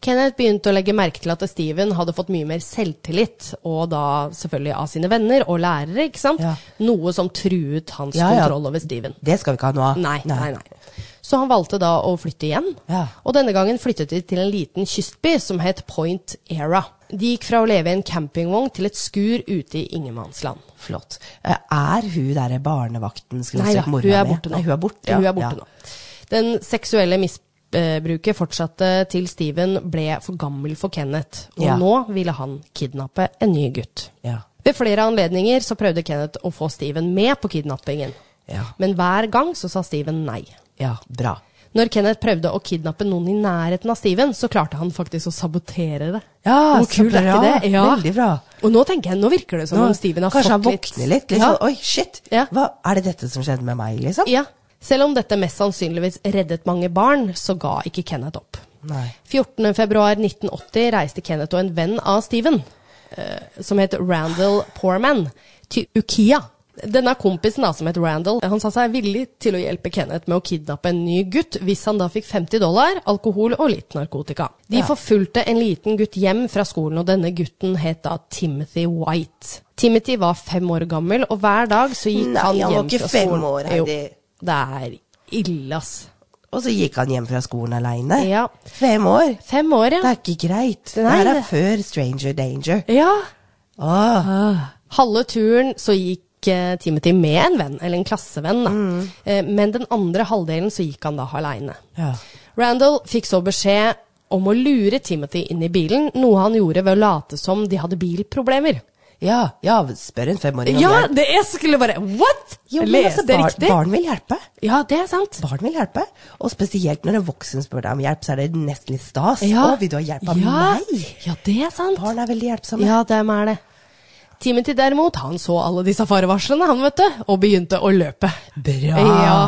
Kenneth begynte å legge merke til at Steven hadde fått mye mer selvtillit, og da selvfølgelig av sine venner og lærere, ikke sant?
Ja.
Noe som truet hans
Ja, ja.
kontroll over Steven.
Det skal vi ikke ha noe av.
Nei, nei, nei. Så han valgte da å flytte igjen,
Ja.
og denne gangen flyttet de til en liten kystby som het Point Era. De gikk fra å leve i en campingvogn til et skur ute i ingenmannsland.
Flott. Eh, Er hun der barnevakten skulle
Nei
jeg
da, hun
si, mora
er
mi?
borte nå.
Nei, hun er borte, ja.
Hun er borte
ja.
nå. Den seksuelle misbruket fortsatte til Steven ble for gammel for Kenneth, og
Ja.
nå ville han kidnappe en ny gutt.
Ja.
Ved flere anledninger så prøvde Kenneth å få Steven med på kidnappingen,
Ja.
men hver gang så sa Steven nei.
ja, bra.
Når Kenneth prøvde å kidnappe noen i nærheten av Steven, så klarte han faktisk å sabotere det.
Ja,
Hvor
så
kult er
bra.
ikke det? Ja.
Veldig bra.
Og nå tenker jeg, nå virker det som
Nå-
om Steven har
kanskje han
fått litt
våkner litt. litt
Ja.
sånn, Oi, shit.
Ja.
Hva, er det dette som skjedde med meg, liksom?
Ja. Selv om dette mest sannsynligvis reddet mange barn, så ga ikke Kenneth opp.
Nei.
14.2.1980 reiste Kenneth og en venn av Steven, eh, som het Randall Poorman, til Ukiah. Denne kompisen da, som het Randall, han sa seg villig til å hjelpe Kenneth med å kidnappe en ny gutt, hvis han da fikk 50 dollar, alkohol og litt narkotika. De
Ja.
forfulgte en liten gutt hjem fra skolen, og denne gutten het da Timothy White. Timothy var fem år gammel, og hver dag så gikk
Nei,
han
han var
hjem
ikke
fra
fem
skolen.
år,
Jo,
Heidi.
det er ille, ass.
Og så gikk han hjem fra skolen aleine.
Ja.
Fem år.
Fem år,
Det
ja.
er ikke greit. Det
Nei,
her er
det-
før Stranger Danger.
Ja,
Åh.
Halve turen så gikk eh, Timothy med en venn, eller en klassevenn, da.
Mm.
Eh, men den andre halvdelen så gikk han da aleine.
Ja.
Randall fikk så beskjed om å lure Timothy inn i bilen, noe han gjorde ved å late som de hadde bilproblemer.
ja, ja, spør en femåring om
Ja,
det.
det jeg skulle bare What?!
Jo, men
Leste
altså, barn,
riktig?
barn vil hjelpe.
Ja, det er sant.
Barn vil hjelpe, og spesielt når en voksen spør deg om hjelp, så er det nesten litt stas.
Ja.
Å, vil du ha hjelp av
ja.
meg?
Ja, det er sant.
Barn er veldig hjelpsomme.
Ja, dem er det. Timothy derimot, han så alle disse farevarslene, han, vet du, og begynte å løpe.
Bra!
Ja.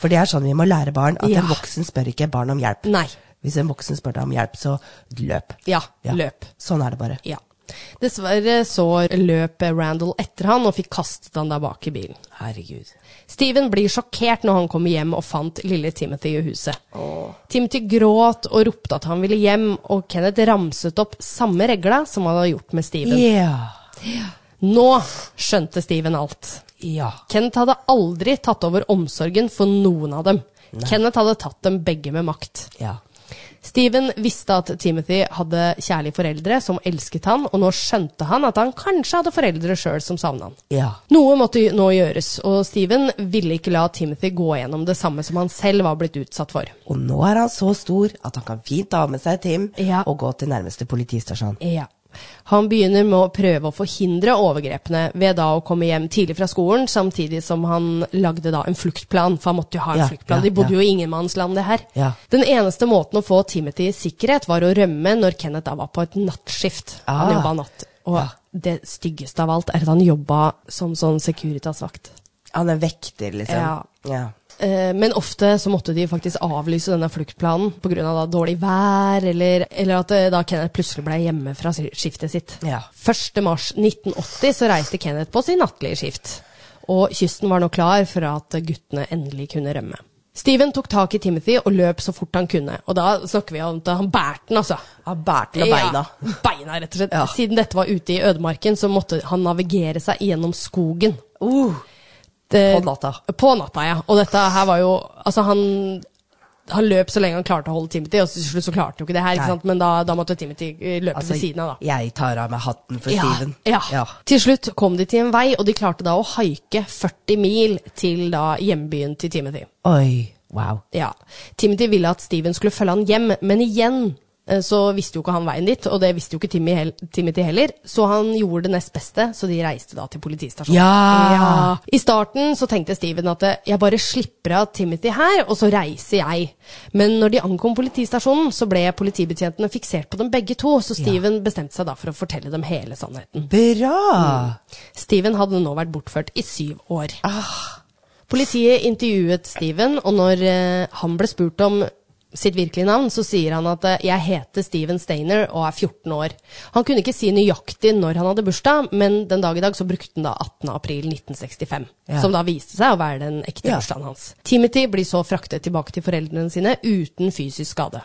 For det er sånn vi må lære barn, at
Ja.
en voksen spør ikke barn om hjelp.
Nei.
Hvis en voksen spør deg om hjelp, så løp.
Ja, løp.
Sånn er det bare.
Ja. Dessverre så løp Randall etter han og fikk kastet han der bak i bilen.
Herregud.
Steven blir sjokkert når han kommer hjem og fant lille Timothy i huset. Timothy gråt og ropte at han ville hjem, og Kenneth ramset opp samme regla som han hadde gjort med Steven.
Ja.
Nå skjønte Steven alt.
Ja.
Kenneth hadde aldri tatt over omsorgen for noen av dem. Kenneth hadde tatt dem begge med makt.
Ja.
Steven visste at Timothy hadde kjærlige foreldre som elsket han, og nå skjønte han at han kanskje hadde foreldre sjøl som savna han.
Ja.
Noe måtte nå gjøres, og Steven ville ikke la Timothy gå gjennom det samme som han selv var blitt utsatt for.
Og nå er han så stor at han kan fint ta med seg Tim
Ja.
og gå til nærmeste politistasjon.
Ja. Han begynner med å prøve å forhindre overgrepene ved da å komme hjem tidlig fra skolen, samtidig som han lagde da en fluktplan, for han måtte jo ha en
Ja,
fluktplan.
ja,
De bodde jo
ja.
i ingenmannsland, det her.
Ja.
Den eneste måten å få Timothy i sikkerhet var å rømme når Kenneth da var på et nattskift. Han
Ah.
jobba natt. Og
Ja.
det styggeste av alt er at han jobba som sånn Securitas-vakt.
Han er vekter, liksom.
Ja.
ja.
Eh, Men ofte så måtte de faktisk avlyse denne fluktplanen pga. dårlig vær, eller, eller at eh, da Kenneth plutselig ble hjemme fra si- skiftet sitt.
Ja.
1. mars 1980 så reiste Kenneth på sin nattlige skift, og kysten var nå klar for at guttene endelig kunne rømme. Steven tok tak i Timothy og løp så fort han kunne, og da snakker vi om at han bærte den, altså.
Han bærte med beina.
Ja, beina, rett og slett.
Ja.
Siden dette var ute i ødemarken, så måtte han navigere seg gjennom skogen.
Uh,
Det-
På natta.
På natta, ja. Og dette her var jo Altså, han han løp så lenge han klarte å holde Timothy, og til slutt så klarte han jo ikke det her.
Nei.
ikke sant? Men da, da måtte Timothy eh, løpe
altså,
ved siden av, da.
jeg tar av meg hatten for Steven.
Ja, ja.
Ja.
Til slutt kom de til en vei, og de klarte da å haike 40 mil til da hjembyen til Timothy.
Oi, wow.
Ja. Timothy ville at Steven skulle følge han hjem, men igjen eh, så visste jo ikke han veien dit, og det visste jo ikke Timmy hel Timothy heller, så han gjorde det nest beste, så de reiste da til politistasjonen.
Ja!
I starten så tenkte Steven at eh, jeg bare slipper av Timothy her, og så reiser jeg. Men når de ankom politistasjonen, så ble politibetjentene fiksert på dem begge to, så Steven bestemte seg da for å fortelle dem hele sannheten.
Bra!
Steven hadde nå vært bortført i syv år.
Ah.
Politiet intervjuet Steven, og når eh, han ble spurt om sitt virkelige navn, så sier han at eh, 'jeg heter Steven Steiner og er 14 år'. Han kunne ikke si nøyaktig når han hadde bursdag, men den dag i dag så brukte han da 18. april 1965,
Ja.
som da viste seg å være den ekte
Ja.
bursdagen hans. Timothy blir så fraktet tilbake til foreldrene sine uten fysisk skade.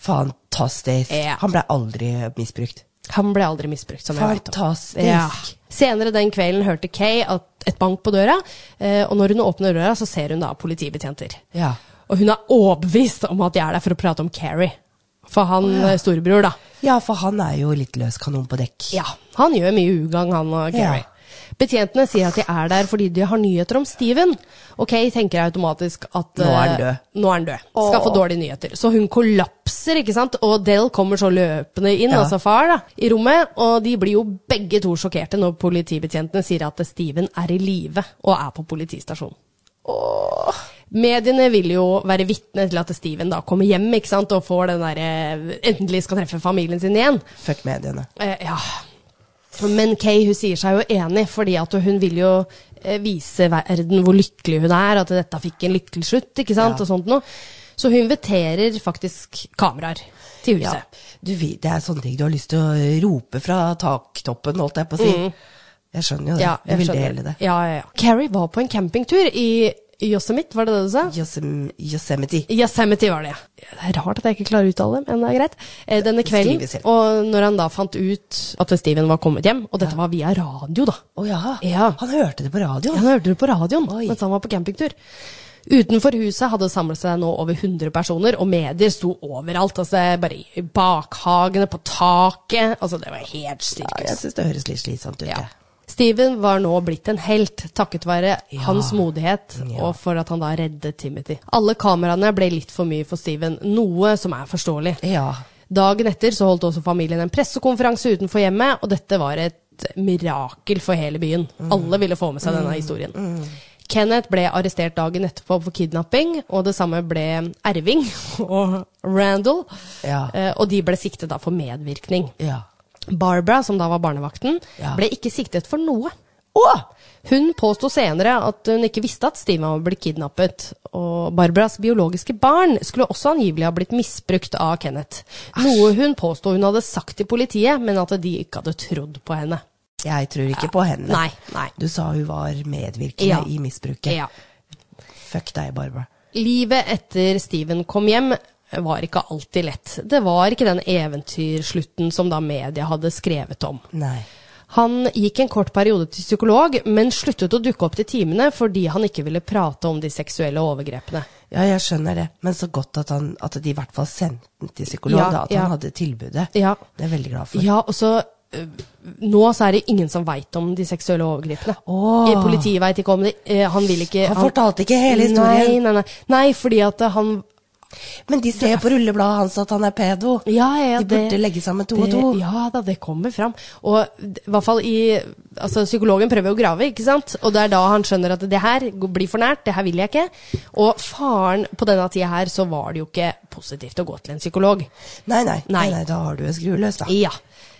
Fantastisk.
Ja.
Han ble aldri misbrukt.
Han ble aldri misbrukt, som jeg vet om.
Fantastisk.
Senere den kvelden hørte Kay at et bank på døra, eh, og når hun åpner døra, så ser hun da politibetjenter.
Ja.
Og hun er overbevist om at de er der for å prate om Carrie. For han eh, storebror, da.
Ja, for han er jo litt løs kanon på dekk.
Ja, han gjør mye ugagn, han og Carrie.
Ja.
Betjentene sier at de er der fordi de har nyheter om Steven. Og Kay tenker automatisk at
Nå er han
eh,
død.
Nå er han død. Skal få
Åh.
dårlige nyheter. Så hun kollapser, ikke sant. Og Del kommer så løpende inn,
Ja.
altså far, da, i rommet. Og de blir jo begge to sjokkerte når politibetjentene sier at Steven er i live og er på politistasjonen. Mediene vil jo være vitne til at Steven da kommer hjem ikke sant? og får den derre Endelig skal treffe familien sin igjen.
Fuck mediene.
Eh, ja. Men Kay hun sier seg jo enig, fordi at hun vil jo eh, vise verden hvor lykkelig hun er, at dette fikk en lykkelig slutt, ikke sant,
Ja.
og sånt noe. Så hun inviterer faktisk kameraer til
Ja.
huset.
Du, vet, det er sånne ting du har lyst til å rope fra taktoppen, holdt jeg på å si. Jeg skjønner jo
Mm.
det.
Ja,
jeg vil
skjønner.
dele det.
Ja, ja, ja. Carrie var på en campingtur i Yosemite, var det det du sa?
Yosem- Yosemite.
Yosemite var det, ja. Det er rart at jeg ikke klarer å uttale det, men det er greit. Eh, Denne kvelden,
Skrives helt.
og når han da fant ut at Steven var kommet hjem, og dette var via radio da,
Å ja.
Ja.
Han hørte det på
Ja,
radioen.
han hørte det på radioen
Oi.
mens han var på campingtur. Utenfor huset hadde det samlet seg nå over 100 personer, og medier sto overalt. altså Bare i bakhagene, på taket. altså Det var helt
Ja,
sirkus.
jeg syns det høres litt slitsomt ut.
Ja.
jeg.
Steven var nå blitt en helt, takket være hans modighet
Ja.
og for at han da reddet Timothy. Alle kameraene ble litt for mye for Steven, noe som er forståelig.
Ja.
Dagen etter så holdt også familien en pressekonferanse utenfor hjemmet, og dette var et mirakel for hele byen. Alle ville få med seg denne historien. Kenneth ble arrestert dagen etterpå for kidnapping, og det samme ble Erving <laughs> og Randall.
Ja.
Eh, Og de ble siktet da for medvirkning.
ja.
Barbara, som da var barnevakten,
Ja.
ble ikke siktet for noe.
Å!
Hun påsto senere at hun ikke visste at Steven var blitt kidnappet, og Barbaras biologiske barn skulle også angivelig ha blitt misbrukt av Kenneth. Noe hun påsto hun hadde sagt til politiet, men at de ikke hadde trodd på henne.
Jeg tror ikke på henne.
Nei, nei.
Du sa hun var medvirkende
Ja.
i misbruket.
Ja.
Fuck deg, Barbara.
Livet etter Steven kom hjem var ikke alltid lett. Det var ikke den eventyrslutten som da media hadde skrevet om.
Nei.
Han gikk en kort periode til psykolog, men sluttet å dukke opp til timene fordi han ikke ville prate om de seksuelle overgrepene.
Ja, jeg skjønner det, men så godt at, han, at de i hvert fall sendte den til psykolog,
Ja,
da, at
ja.
han hadde tilbudet.
Ja.
Det er jeg veldig glad for.
Ja, og så øh, Nå så er det ingen som veit om de seksuelle overgrepene.
Åh.
Eh, Politiet veit ikke om det. eh, Han vil ikke
Han fortalte ikke hele historien.
Nei, nei, nei. nei fordi at eh, han
Men de ser på rullebladet hans at han er pedo.
Ja, ja,
de burde legge sammen to
det-
og to.
Ja da, det kommer fram. Og d- i hvert fall i Altså, psykologen prøver å grave, ikke sant? Og det er da han skjønner at det her g- blir for nært, det her vil jeg ikke. Og faren På denne tida her så var det jo ikke positivt å gå til en psykolog.
Nei, nei, nei,
Nei.
nei, da har du en skrue løs, da.
Ja.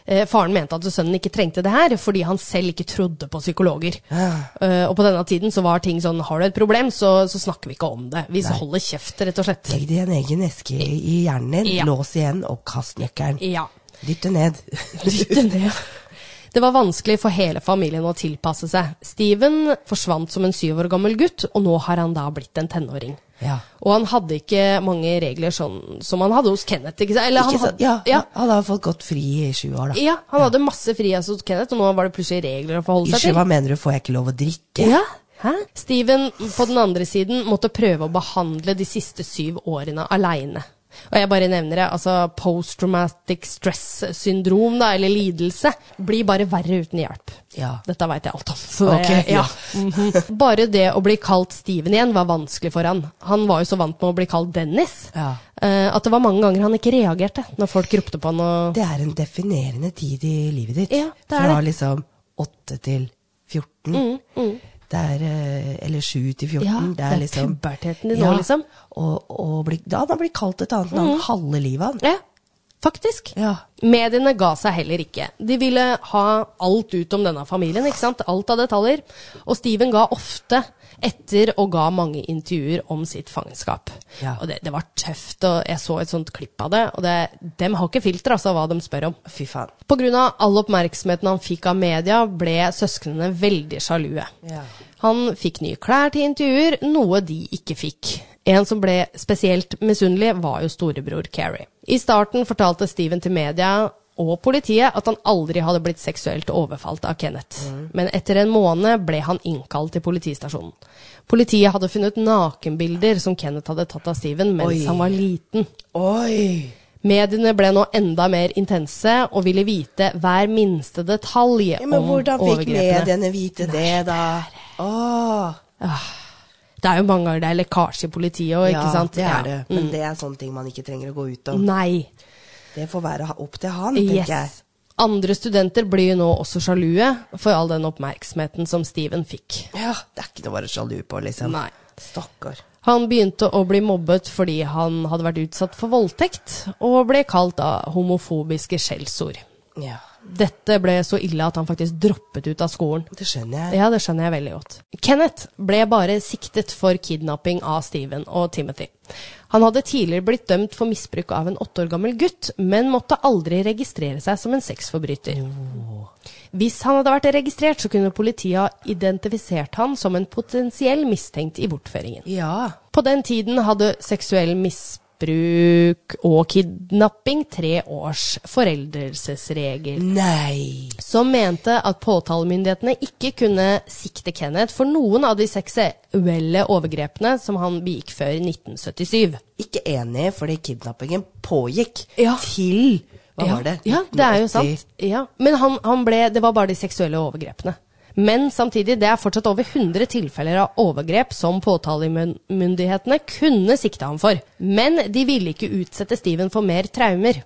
Eh, Faren mente at sønnen ikke trengte det her, fordi han selv ikke trodde på psykologer. Eh, og på denne tiden så var ting sånn har du et problem, så, så snakker vi ikke om det. Vi holder kjeft, rett og slett.
Legg det i en egen eske i hjernen din,
Ja.
lås igjen og kast nøkkelen.
Ja.
Dytt det ned. <laughs>
Dytte ned. Det var vanskelig for hele familien å tilpasse seg. Steven forsvant som en syv år gammel gutt, og nå har han da blitt en tenåring.
Ja.
Og han hadde ikke mange regler sånn som han hadde hos Kenneth. Ikke sant? Eller han
Ikke sant?
hadde,
Ja,
ja,
han har fått gått fri i sju år, da.
ja, han hadde masse frihet hos Kenneth, og nå var det plutselig regler å forholde seg
Ikke,
til.
hva mener du, får jeg ikke lov å drikke?
Ja. Hæ? Steven på den andre siden måtte prøve å behandle de siste syv årene aleine. Og jeg bare nevner det, altså post-traumatic stress-syndrom, da, eller lidelse, blir bare verre uten hjelp.
Ja.
Dette veit jeg alt om. Så det,
Ok,
ja.
ja.
Mhm. Bare det å bli kalt Steven igjen var vanskelig for han. Han var jo så vant med å bli kalt Dennis
Ja.
eh, at det var mange ganger han ikke reagerte når folk ropte på han og
Det er en definerende tid i livet ditt.
Ja, det er det.
Fra
Mm,
liksom 8 til 14. Det er, eh, eller 7 til 14.
Ja,
det
det
er,
er
liksom,
puberteten din nå, liksom. Mm.
Og, og blir- da han har blitt kalt et annet navn halve livet han.
Ja, faktisk.
Ja.
Mediene ga seg heller ikke. De ville ha alt ut om denne familien, ikke sant? Alt av detaljer. Og Steven ga ofte etter og ga mange intervjuer om sitt fangenskap.
Ja.
Og det, det var tøft, og jeg så et sånt klipp av det, og det, dem har ikke filter, altså, hva de spør om.
Fy faen.
På grunn av all oppmerksomheten han fikk av media, ble søsknene veldig sjalue.
Ja.
Han fikk nye klær til intervjuer, noe de ikke fikk. En som ble spesielt misunnelig, var jo storebror Carrie. I starten fortalte Steven til media og politiet at han aldri hadde blitt seksuelt overfalt av Kenneth.
Mm.
Men etter en måned ble han innkalt til politistasjonen. Politiet hadde funnet nakenbilder som Kenneth hadde tatt av Steven mens
Oi.
han var liten.
Oi!
Mediene ble nå enda mer intense og ville vite hver minste detalj
Ja,
om
men hvordan fikk
overgrepene.
mediene vite det, da? Åh,
Det er jo mange ganger det er lekkasje i politiet òg,
ja,
ikke sant?
det
Ja. Mm.
er det. Men det er sånne ting man ikke trenger å gå ut om.
Nei.
Det får være ha- opp til han, tenker jeg.
Yes. Andre studenter blir jo nå også sjalue for all den oppmerksomheten som Steven fikk.
Ja, det er ikke noe å være sjalu på, liksom.
Nei.
Stakkar.
Han begynte å bli mobbet fordi han hadde vært utsatt for voldtekt, og ble kalt da homofobiske skjellsord.
Ja,
Dette ble så ille at han faktisk droppet ut av skolen.
det skjønner jeg.
Ja, det skjønner jeg veldig godt. Kenneth ble bare siktet for kidnapping av Steven og Timothy. Han hadde tidligere blitt dømt for misbruk av en åtte år gammel gutt, men måtte aldri registrere seg som en sexforbryter. Hvis han hadde vært registrert, så kunne politiet ha identifisert han som en potensiell mistenkt i bortføringen.
Ja.
På den tiden hadde seksuell misbruk og kidnapping tre års foreldelsesregel
Nei.
som mente at påtalemyndighetene ikke kunne sikte Kenneth for noen av de seksuelle overgrepene som han begikk før 1977.
Ikke enig, fordi kidnappingen pågikk
Ja.
til Hva
ja.
var det?
Ja, det er jo
1980.
sant. Ja. Men han, han ble, det var bare de seksuelle overgrepene. Men samtidig, det er fortsatt over 100 tilfeller av overgrep som påtalemyndighetene kunne sikte ham for. Men de ville ikke utsette Steven for mer traumer.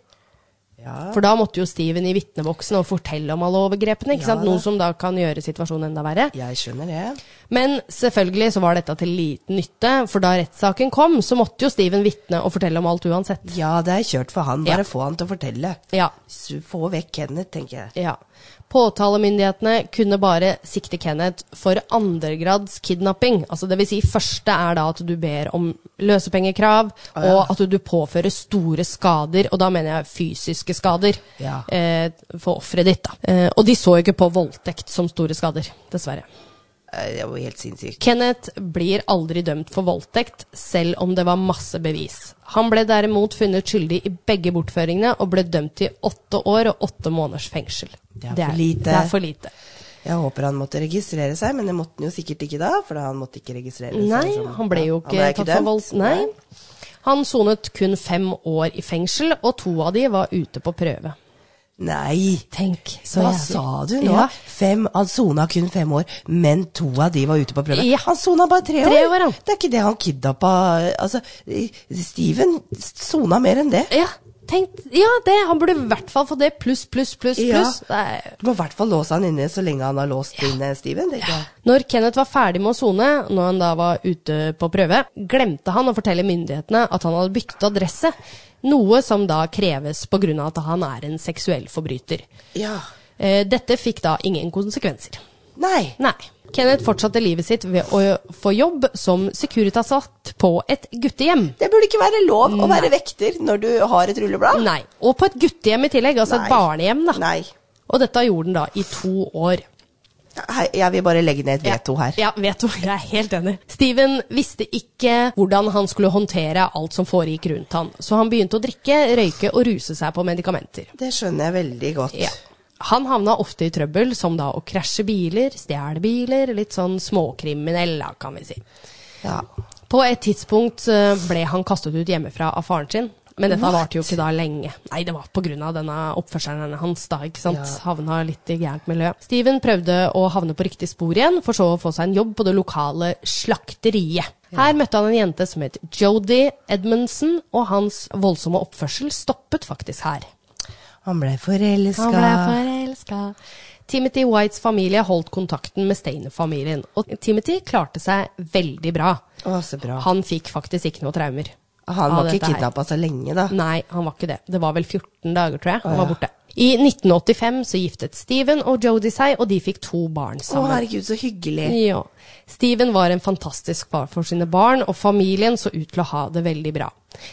Ja.
For da måtte jo Steven i vitneboksen og fortelle om alle overgrepene, ikke
Ja,
sant?
da.
Noe som da kan gjøre situasjonen enda verre.
Jeg skjønner det.
Men selvfølgelig så var dette til liten nytte, for da rettssaken kom, så måtte jo Steven vitne og fortelle om alt uansett.
Ja, det er kjørt for han. Bare
Ja.
få han til å fortelle.
Ja.
S- Få vekk Kenneth, tenker jeg.
ja. Påtalemyndighetene kunne bare sikte Kenneth for andregrads kidnapping. Altså det vil si, første er da at du ber om løsepengekrav, og at du påfører store skader, og da mener jeg fysiske skader,
Ja.
eh, for offeret ditt. da. Eh, og de så jo ikke på voldtekt som store skader, dessverre.
eh, det var jo helt sinnssykt.
Kenneth blir aldri dømt for voldtekt, selv om det var masse bevis. Han ble derimot funnet skyldig i begge bortføringene og ble dømt til åtte år og åtte måneders fengsel.
Det er for lite.
Det er for lite.
Jeg håper han måtte registrere seg, men det måtte han jo sikkert ikke da, for da han måtte ikke registrere
Nei,
seg. som-
han ble jo
Ja,
ikke, tatt
dømt.
for vold. Nei. Han sonet kun fem år i fengsel, og to av de var ute på prøve.
Nei!
Tenk, så
Hva
jævlig.
sa du nå?
Ja.
Fem, han sona kun fem år, men to av de var ute på prøve.
Ja.
Han sona bare tre år!
Tre år, han.
Det er ikke det han kidnappa Altså, Steven sona mer enn det.
Ja, tenk, ja det, han burde i hvert fall få det, pluss, pluss, pluss,
Ja.
pluss. Det er-
Du må i hvert fall låse han inne så lenge han har låst inne Steven. tenker jeg.
Når Kenneth var ferdig med å sone, når han da var ute på prøve, glemte han å fortelle myndighetene at han hadde byttet adresse, noe som da kreves på grunn av at han er en seksuell forbryter.
Ja.
Eh, Dette fikk da ingen konsekvenser.
Nei.
Nei. Kenneth fortsatte livet sitt ved å få jobb som Securitas-vatt på et guttehjem.
Det burde ikke være lov å være vekter når du har et rulleblad.
Nei, Og på et guttehjem i tillegg, altså
Nei.
et barnehjem. da.
Nei.
Og dette gjorde han da i to år.
Hei, Jeg vil bare legge ned et veto her.
Ja, veto. Jeg er helt enig. Steven visste ikke hvordan han skulle håndtere alt som foregikk rundt han, så han begynte å drikke, røyke og ruse seg på medikamenter.
Det skjønner jeg veldig godt.
Ja. Han havna ofte i trøbbel, som da å krasje biler, stjele biler, litt sånn småkriminell, da, kan vi si.
Ja.
På et tidspunkt eh, ble han kastet ut hjemmefra av faren sin. Men dette varte jo ikke da lenge. Nei, det var pga. denne oppførselen hans, da. ikke sant? Havna litt i gærent miljø. Steven prøvde å havne på riktig spor igjen, for så å få seg en jobb på det lokale slakteriet. Her møtte han en jente som het Jodi Edmundsen, og hans voldsomme oppførsel stoppet faktisk her.
Han ble
Han
forelska.
ble forelska. Timothy Whites familie holdt kontakten med Steiner-familien, og Timothy klarte seg veldig bra.
Å, så bra.
Han
Han,
fikk faktisk ikke noe traumer. av
var ikke
dette her.
kidnappa så lenge, da.
Nei, han var ikke det. Det var vel 14 dager, tror jeg. Han
Å,
var
ja.
borte. I 1985 så giftet Steven og Jodie seg, og de fikk to barn
Å,
sammen.
herregud, så hyggelig.
ja. Steven var en fantastisk far for sine barn, og familien så ut til å ha det veldig bra.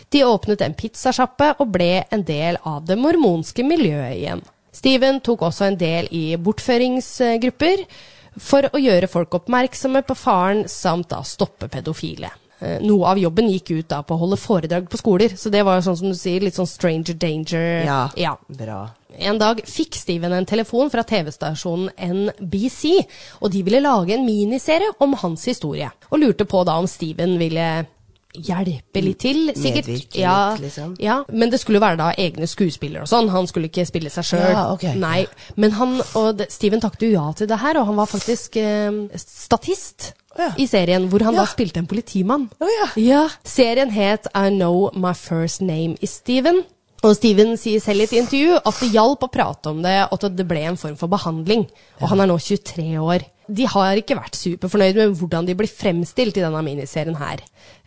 De åpnet en pizzasjappe og ble en del av det mormonske miljøet igjen. Steven tok også en del i bortføringsgrupper for å gjøre folk oppmerksomme på faren, samt da stoppe pedofile. Eh, Noe av jobben gikk ut da på å holde foredrag på skoler, så det var jo sånn som du sier, litt sånn stranger danger.
Ja.
ja.
Bra.
En dag fikk Steven en telefon fra TV-stasjonen NBC, og de ville lage en miniserie om hans historie, og lurte på da om Steven ville hjelpe litt til, sikkert.
Medvirke litt, liksom.
Ja, men det skulle være da egne skuespillere og sånn, han skulle ikke spille seg sjøl.
Ja, ok.
Nei, men han, og det, Steven takket jo ja til det her, og han var faktisk eh, statist
Å ja.
i serien, hvor han
Ja.
da spilte en politimann.
Å ja.
Ja, serien het I Know My First Name Is Steven. Og Steven sier selv i et intervju at det hjalp å prate om det, og at det ble en form for behandling. Og han er nå 23 år. De har ikke vært superfornøyd med hvordan de blir fremstilt i denne miniserien her.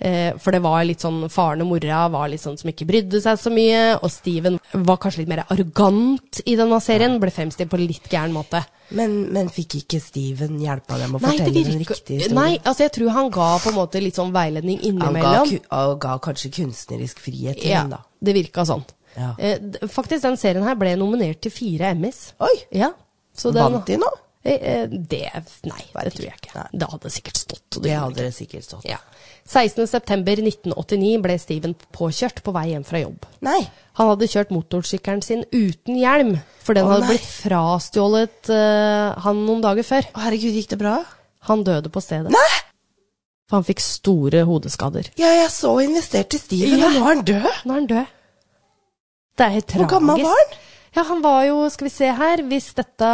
Eh, for det var litt sånn faren og mora var litt sånn som ikke brydde seg så mye, og Steven var kanskje litt mer arrogant i denne serien, ble fremstilt på litt gæren måte.
Men, men fikk ikke Steven hjelp av dem å
Nei, det
fortelle den
virker-
riktige historien?
Nei, altså jeg tror han ga på en måte litt sånn veiledning
han
innimellom.
ga, ku- han ga kanskje kunstnerisk frihet til
Ja,
dem, da.
det virka sånn.
Ja.
Eh, d- faktisk, den serien her ble nominert til fire Emmys.
Oi!
Ja, så den-
Vant de nå?
Eh, eh, Det Nei, det
Vet
tror jeg
ikke.
ikke.
Nei.
Det hadde sikkert stått. og
Det
gjorde
hadde
det
det sikkert stått.
ikke. Ja. 16.9.1989 ble Steven påkjørt på vei hjem fra jobb.
Nei.
Han hadde kjørt motorsykkelen sin uten hjelm, for den
Å,
hadde
nei.
blitt frastjålet eh, han noen dager før.
Å, herregud, gikk det bra?
Han døde på stedet.
Nei!
For han fikk store hodeskader.
Ja, jeg så investert i Steven,
Ja.
og nå er han død!
Nå er han død. Det er helt tragisk.
Hvor gammel var han?
Ja, han var jo, skal vi se her, hvis dette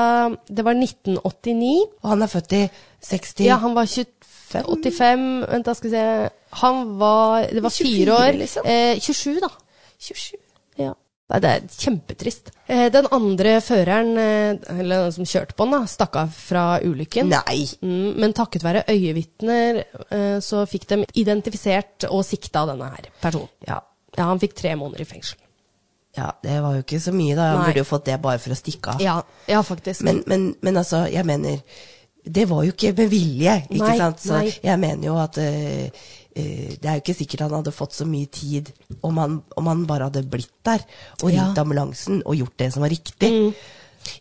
Det var 1989.
Og han er født i 60
Ja, han var 85 Vent, da skal vi se. Han var Det var
24
fire år.
liksom.
Eh, 27, da.
27.
Ja. Nei, det er kjempetrist. Eh, den andre føreren, eh, eller den som kjørte på den, da, stakk av fra ulykken.
Nei!
Mm, men takket være øyevitner eh, så fikk de identifisert og sikta denne her personen.
Ja.
Ja, han fikk tre måneder i fengsel.
ja, det var jo ikke så mye, da. Han
Nei.
burde jo fått det bare for å stikke av.
Ja, ja faktisk.
Men, men, men altså, jeg mener Det var jo ikke med vilje, ikke
Nei,
sant? Så
nei.
jeg mener jo at eh, eh, det er jo ikke sikkert han hadde fått så mye tid om han, om han bare hadde blitt der
Ja.
og
Mm.
ringt ambulansen og gjort det som var riktig.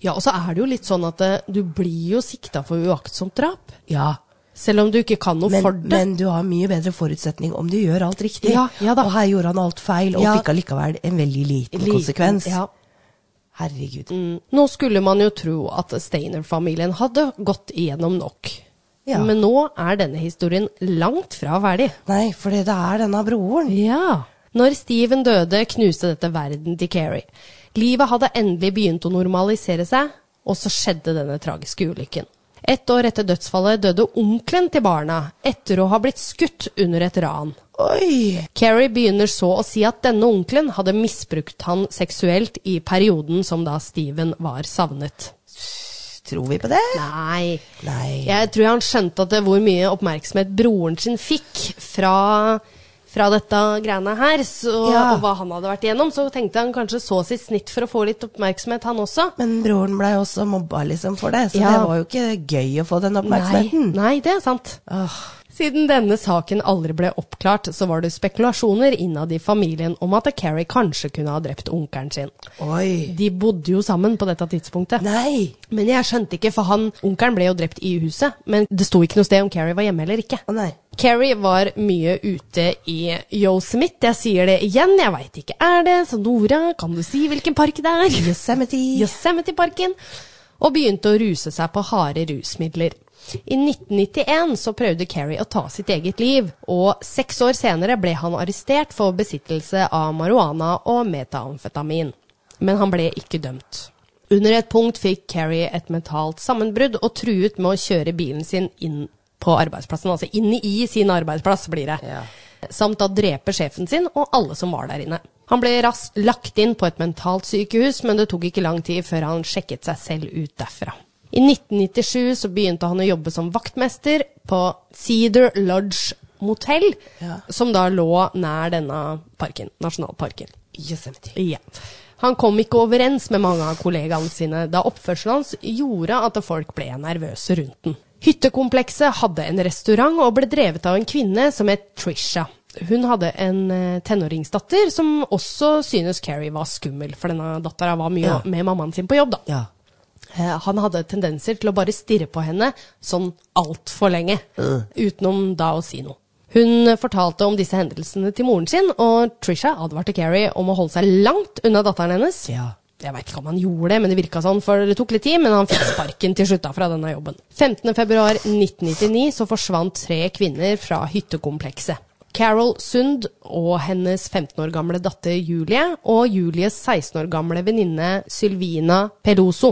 Ja, og så er det jo litt sånn at eh, du blir jo sikta for uaktsomt drap.
Ja,
Selv om du ikke kan noe
Men,
for det.
men du har mye bedre forutsetning om du gjør alt riktig.
Ja, ja da.
og her gjorde han alt feil, og
Ja.
fikk allikevel en veldig liten,
Liten,
konsekvens.
ja.
Herregud.
Mm. Nå skulle man jo tro at Steiner-familien hadde gått igjennom nok.
Ja.
Men nå er denne historien langt fra ferdig.
Nei, for det er denne broren.
Ja. Når Steven døde, knuste dette verden til Keri. Livet hadde endelig begynt å normalisere seg, og så skjedde denne tragiske ulykken. Ett år etter dødsfallet døde onkelen til barna etter å ha blitt skutt under et ran.
Oi!
Keri begynner så å si at denne onkelen hadde misbrukt han seksuelt i perioden som da Steven var savnet.
Tror vi på det?
Nei.
Nei.
Jeg tror han skjønte at det, hvor mye oppmerksomhet broren sin fikk fra, fra dette greiene her, så,
Ja.
og hva han hadde vært igjennom, så tenkte han kanskje så sitt snitt for å få litt oppmerksomhet, han også.
Men broren blei også mobba liksom for det, så
Ja.
det var jo ikke gøy å få den oppmerksomheten.
Nei, nei, det er sant.
Åh,
Siden denne saken aldri ble oppklart, så var det spekulasjoner innad i familien om at Carrie kanskje kunne ha drept onkelen sin.
oi.
De bodde jo sammen på dette tidspunktet.
Nei!
Men jeg skjønte ikke, for han, onkelen ble jo drept i huset, men det sto ikke noe sted om Carrie var hjemme eller ikke.
Å nei.
Carrie var mye ute i Yosemite. Jeg sier det igjen, jeg veit ikke er det, så Nora, kan du si hvilken park det er?
Yosemite.
Yosemite-parken. Og begynte å ruse seg på harde rusmidler. I 1991 så prøvde Carrie å ta sitt eget liv, og seks år senere ble han arrestert for besittelse av marihuana og metamfetamin. Men han ble ikke dømt. Under et punkt fikk Carrie et mentalt sammenbrudd og truet med å kjøre bilen sin inn på arbeidsplassen. Altså inn i sin arbeidsplass, blir det.
Ja.
Samt å drepe sjefen sin og alle som var der inne. Han ble raskt lagt inn på et mentalt sykehus, men det tok ikke lang tid før han sjekket seg selv ut derfra. I 1997 så begynte han å jobbe som vaktmester på Cedar Lodge Motel,
Ja.
som da lå nær denne parken, nasjonalparken.
Yosemite.
Ja. Han kom ikke overens med mange av kollegaene sine, da oppførselen hans gjorde at folk ble nervøse rundt den. Hyttekomplekset hadde en restaurant og ble drevet av en kvinne som het Trisha. Hun hadde en eh, tenåringsdatter som også synes Carrie var skummel, for denne dattera var mye
Ja.
med mammaen sin på jobb, da.
Ja.
Eh, Han hadde tendenser til å bare stirre på henne sånn altfor lenge, utenom da å si noe. Hun fortalte om disse hendelsene til moren sin, og Trisha advarte Carrie om å holde seg langt unna datteren hennes.
Ja.
Jeg veit ikke om han gjorde det, men det virka sånn, for det tok litt tid, men han fikk sparken til slutt da fra denne jobben. 15.2.1999 så forsvant tre kvinner fra hyttekomplekset. Carol Sund og hennes 15 år gamle datter Julie, og Julies 16 år gamle venninne Sylvina Peloso.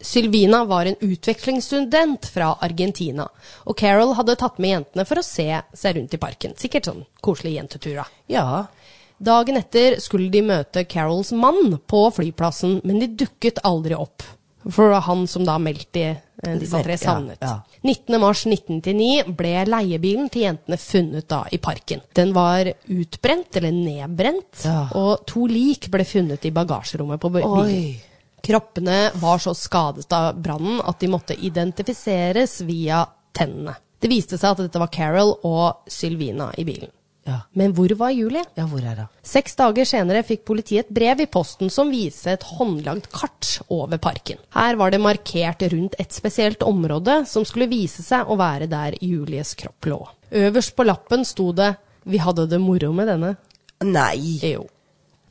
Sylvina var en utvekslingsstudent fra Argentina, og Carol hadde tatt med jentene for å se seg rundt i parken. Sikkert sånn koselig jentetur, da.
Ja.
Dagen etter skulle de møte Carols mann på flyplassen, men de dukket aldri opp. For det var han som da meldte eh, disse tre
Ja,
savnet.
ja.
19. mars 1999 ble leiebilen til jentene funnet da i parken. Den var utbrent, eller nedbrent,
Ja.
og to lik ble funnet i bagasjerommet på bilen.
Oi.
Kroppene var så skadet av brannen at de måtte identifiseres via tennene. Det viste seg at dette var Carol og Sylvina i bilen.
Ja.
Men hvor var Julie?
Ja, hvor er det?
Seks dager senere fikk politiet et brev i posten som viste et håndlagd kart over parken. Her var det markert rundt et spesielt område som skulle vise seg å være der Julies kropp lå. Øverst på lappen sto det 'Vi hadde det moro med denne'.
Nei.
Jo.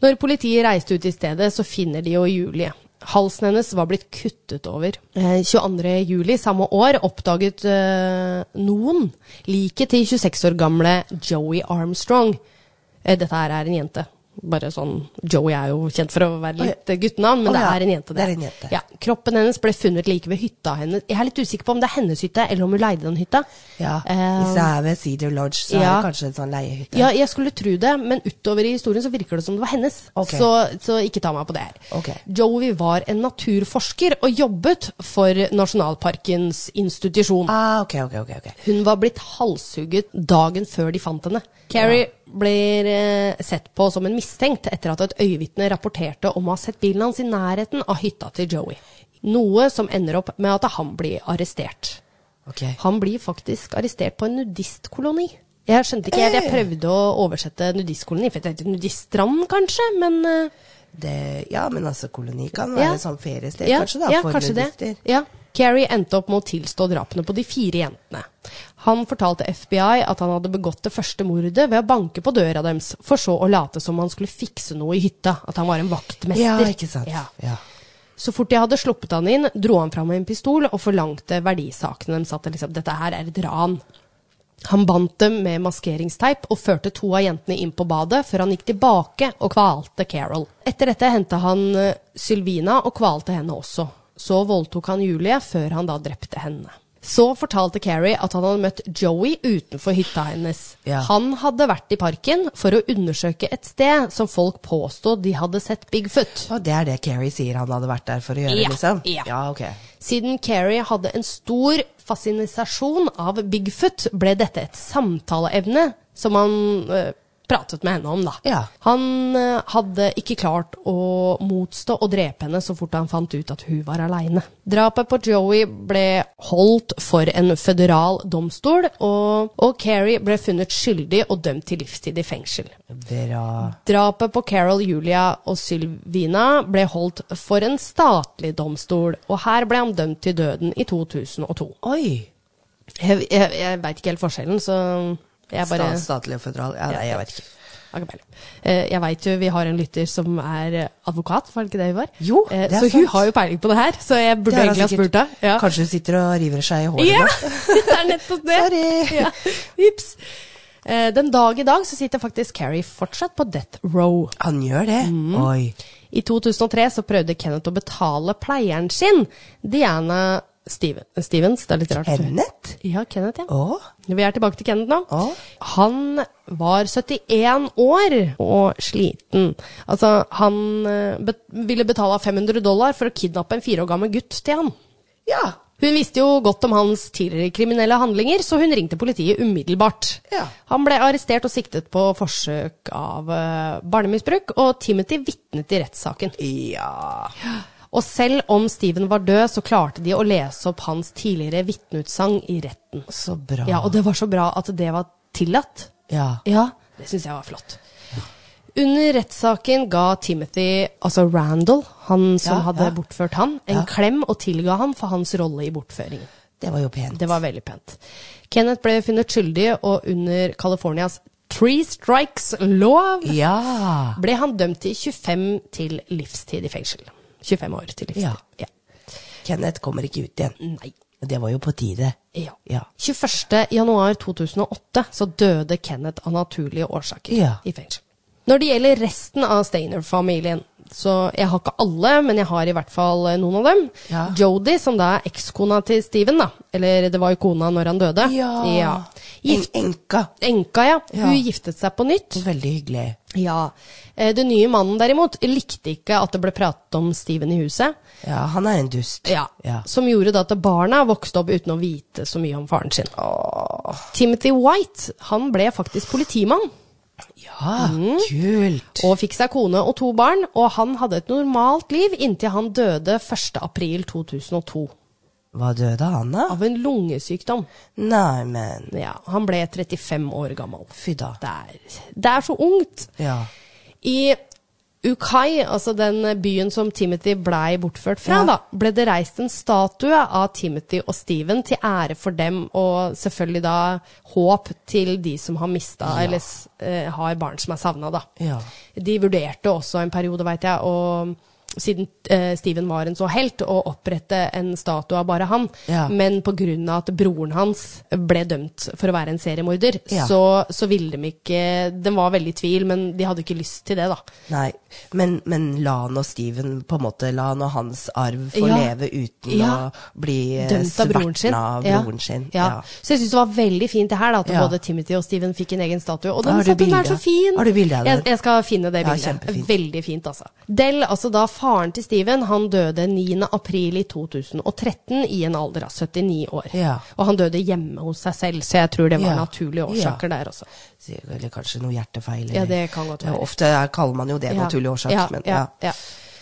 Når politiet reiste ut i stedet, så finner de jo Julie. Halsen hennes var blitt kuttet over. Eh, 22. juli samme år oppdaget eh, noen liket til 26 år gamle Joey Armstrong. Eh, dette her er en jente. Bare sånn, Joey er jo kjent for å være litt eh, guttenavn, men
Å
det
ja,
er en jente.
det er en jente.
Ja, kroppen hennes ble funnet like ved hytta hennes. Jeg er litt usikker på om det er hennes hytte, eller om hun leide den hytta.
Ja.
Eh,
Hvis det er ved Cedar Lodge,
ja.
så er det kanskje en sånn leiehytte.
ja, jeg skulle tro det, men utover i historien så virker det som det var hennes.
Ok.
Så, så ikke ta meg på det her.
Ok.
Joey var en naturforsker og jobbet for nasjonalparkens institusjon.
Ah, ok, ok, ok. ok.
Hun var blitt halshugget dagen før de fant henne. Carrie blir eh, sett på som en mistenkt etter at et øyevitne rapporterte om å ha sett bilen hans i nærheten av hytta til Joey. Noe som ender opp med at han blir arrestert.
Ok.
Han blir faktisk arrestert på en nudistkoloni. Jeg skjønte ikke
Eh.
helt, jeg prøvde å oversette nudistkoloni, for det heter nudiststrand kanskje, men eh,
Det, ja, men altså, koloni kan
Ja.
være et sånn feriested,
ja,
kanskje, da,
ja,
for
kanskje
nudister.
Det. Ja. Carrie endte opp med å tilstå drapene på de fire jentene. Han fortalte FBI at han hadde begått det første mordet ved å banke på døra deres, for så å late som han skulle fikse noe i hytta, at han var en
Ja,
vaktmester.
ikke sant.
Ja.
Ja.
Så fort de hadde sluppet han inn, dro han fram en pistol og forlangte verdisakene deres. At liksom, dette her er et ran. Han bandt dem med maskeringsteip og førte to av jentene inn på badet, før han gikk tilbake og kvalte Carol. Etter dette henta han eh, Sylvina og kvalte henne også. Så voldtok han Julie før han da drepte henne. Så fortalte Carrie at han hadde møtt Joey utenfor hytta hennes.
Ja.
Han hadde vært i parken for å undersøke et sted som folk påstod de hadde sett Bigfoot.
Og det er det Carrie sier han hadde vært der for å gjøre,
Ja,
liksom?
ja.
ok.
Siden Carrie hadde en stor fascinasjon av Bigfoot, ble dette et samtaleevne som han eh, pratet med henne om, da.
Ja.
Han eh, hadde ikke klart å motstå å drepe henne så fort han fant ut at hun var aleine. Drapet på Joey ble holdt for en føderal domstol, og, og Carrie ble funnet skyldig og dømt til livstid i fengsel.
Bra.
Drapet på Carol, Julia og Sylvina ble holdt for en statlig domstol, og her ble han dømt til døden i 2002.
Oi!
Jeg, jeg, jeg veit ikke helt forskjellen, så jeg bare
Stat, statlig og føderal. Ja, nei, jeg vet ikke.
Har ikke peiling. Eh, Jeg veit jo vi har en lytter som er eh, advokat, var det ikke det vi var?
Jo,
Eh,
det er
Så hun
sant.
har jo peiling på det her, så jeg
Det
burde
har han
egentlig ha
sikkert-
spurt deg. Ja.
Kanskje hun sitter og river seg i håret
Ja, <laughs>
nå?
det er nettopp det.
Sorry.
Ja. Ups. Eh, Den dag i dag så sitter faktisk Carrie fortsatt på death row.
Han gjør det?
Mm.
Oi.
I 2003 så prøvde Kenneth å betale pleieren sin, Diana Steven, Stevens. Det er litt rart.
Kenneth?
Ja, Kenneth, ja.
Å?
Vi er tilbake til Kenneth nå.
Å.
Han var 71 år og sliten. Altså, han eh, bet ville betale 500 dollar for å kidnappe en fire år gammel gutt til han.
Ja.
Hun visste jo godt om hans tidligere kriminelle handlinger, så hun ringte politiet umiddelbart.
Ja.
Han ble arrestert og siktet på forsøk av eh, barnemisbruk, og Timothy vitnet i rettssaken.
Ja.
Og selv om Steven var død, så klarte de å lese opp hans tidligere vitneutsagn i retten.
Så bra.
Ja, Og det var så bra at det var tillatt.
Ja.
Ja, det syns jeg var flott. Under rettssaken ga Timothy, altså Randall, han som
Ja,
hadde
ja.
bortført han, en klem og tilga han for hans rolle i bortføringen.
Det var jo pent.
Det var veldig pent. Kenneth ble funnet skyldig, og under Californias Three Strikes-lov
Ja.
ble han dømt til 25 til livstid i fengsel. 25 år til livstid.
Ja. Kenneth kommer ikke ut igjen.
Nei.
Det var jo på tide.
Ja.
Ja.
21. januar 2008 så døde Kenneth av naturlige årsaker
Ja.
i fengsel. Når det gjelder resten av Steiner-familien, så jeg har ikke alle, men jeg har i hvert fall eh, noen av dem.
Ja.
Jodie, som da er ekskona til Steven, da. Eller det var jo kona når han døde.
En,
Gift,
enka.
enka, ja.
Ja.
Hun giftet seg på nytt.
Veldig hyggelig.
Ja. Eh, Den nye mannen derimot likte ikke at det ble pratet om Steven i huset.
Ja, han er en dust.
Ja.
ja.
Som gjorde da at barna vokste opp uten å vite så mye om faren sin. Timothy White han ble faktisk politimann
Ja,
Mm.
kult.
og fikk seg kone og to barn. Og han hadde et normalt liv inntil han døde 1.4.2002
Hva døde han av?
av en lungesykdom.
Nei, men
Ja, Han ble 35 år gammel.
fy da.
Det er, det er så ungt!
Ja.
I Ukai, altså den byen som Timothy blei bortført fra,
Ja.
da, ble det reist en statue av Timothy og Steven til ære for dem, og selvfølgelig da håp til de som har mista eller s- eh, har barn som er savna, da.
Ja.
De vurderte også en periode, veit jeg, og siden eh, Steven var en så helt, å opprette en statue av bare han.
Ja.
Men pga. at broren hans ble dømt for å være en seriemorder,
Ja.
så, så ville de ikke Den var veldig i tvil, men de hadde ikke lyst til det, da.
Nei, men, men la han og Steven på en måte, la han og hans arv få
Ja.
leve uten
Ja.
å bli eh,
Dømt av broren sin.
svertna av broren sin.
Ja. Ja. Så jeg syns det var veldig fint det her, da, at
Ja.
både Timothy og Steven fikk en egen statue. Og
Har
den
du
statuen er
bilde?
så fin!
Har du bilde av den?
Jeg, jeg skal finne det
Ja,
bildet.
kjempefint.
veldig fint, altså. Del, altså da faren til Steven, han døde 9. april i 2013 i en alder av 79 år.
Ja.
Og han døde hjemme hos seg selv, så jeg tror det var
Ja.
naturlige årsaker der også.
Så- Eller kanskje noe hjertefeil.
Ja,
eller-
det kan godt være.
ofte er- kaller man jo det naturlig årsak,
Ja,
men
ja,
ja.
ja.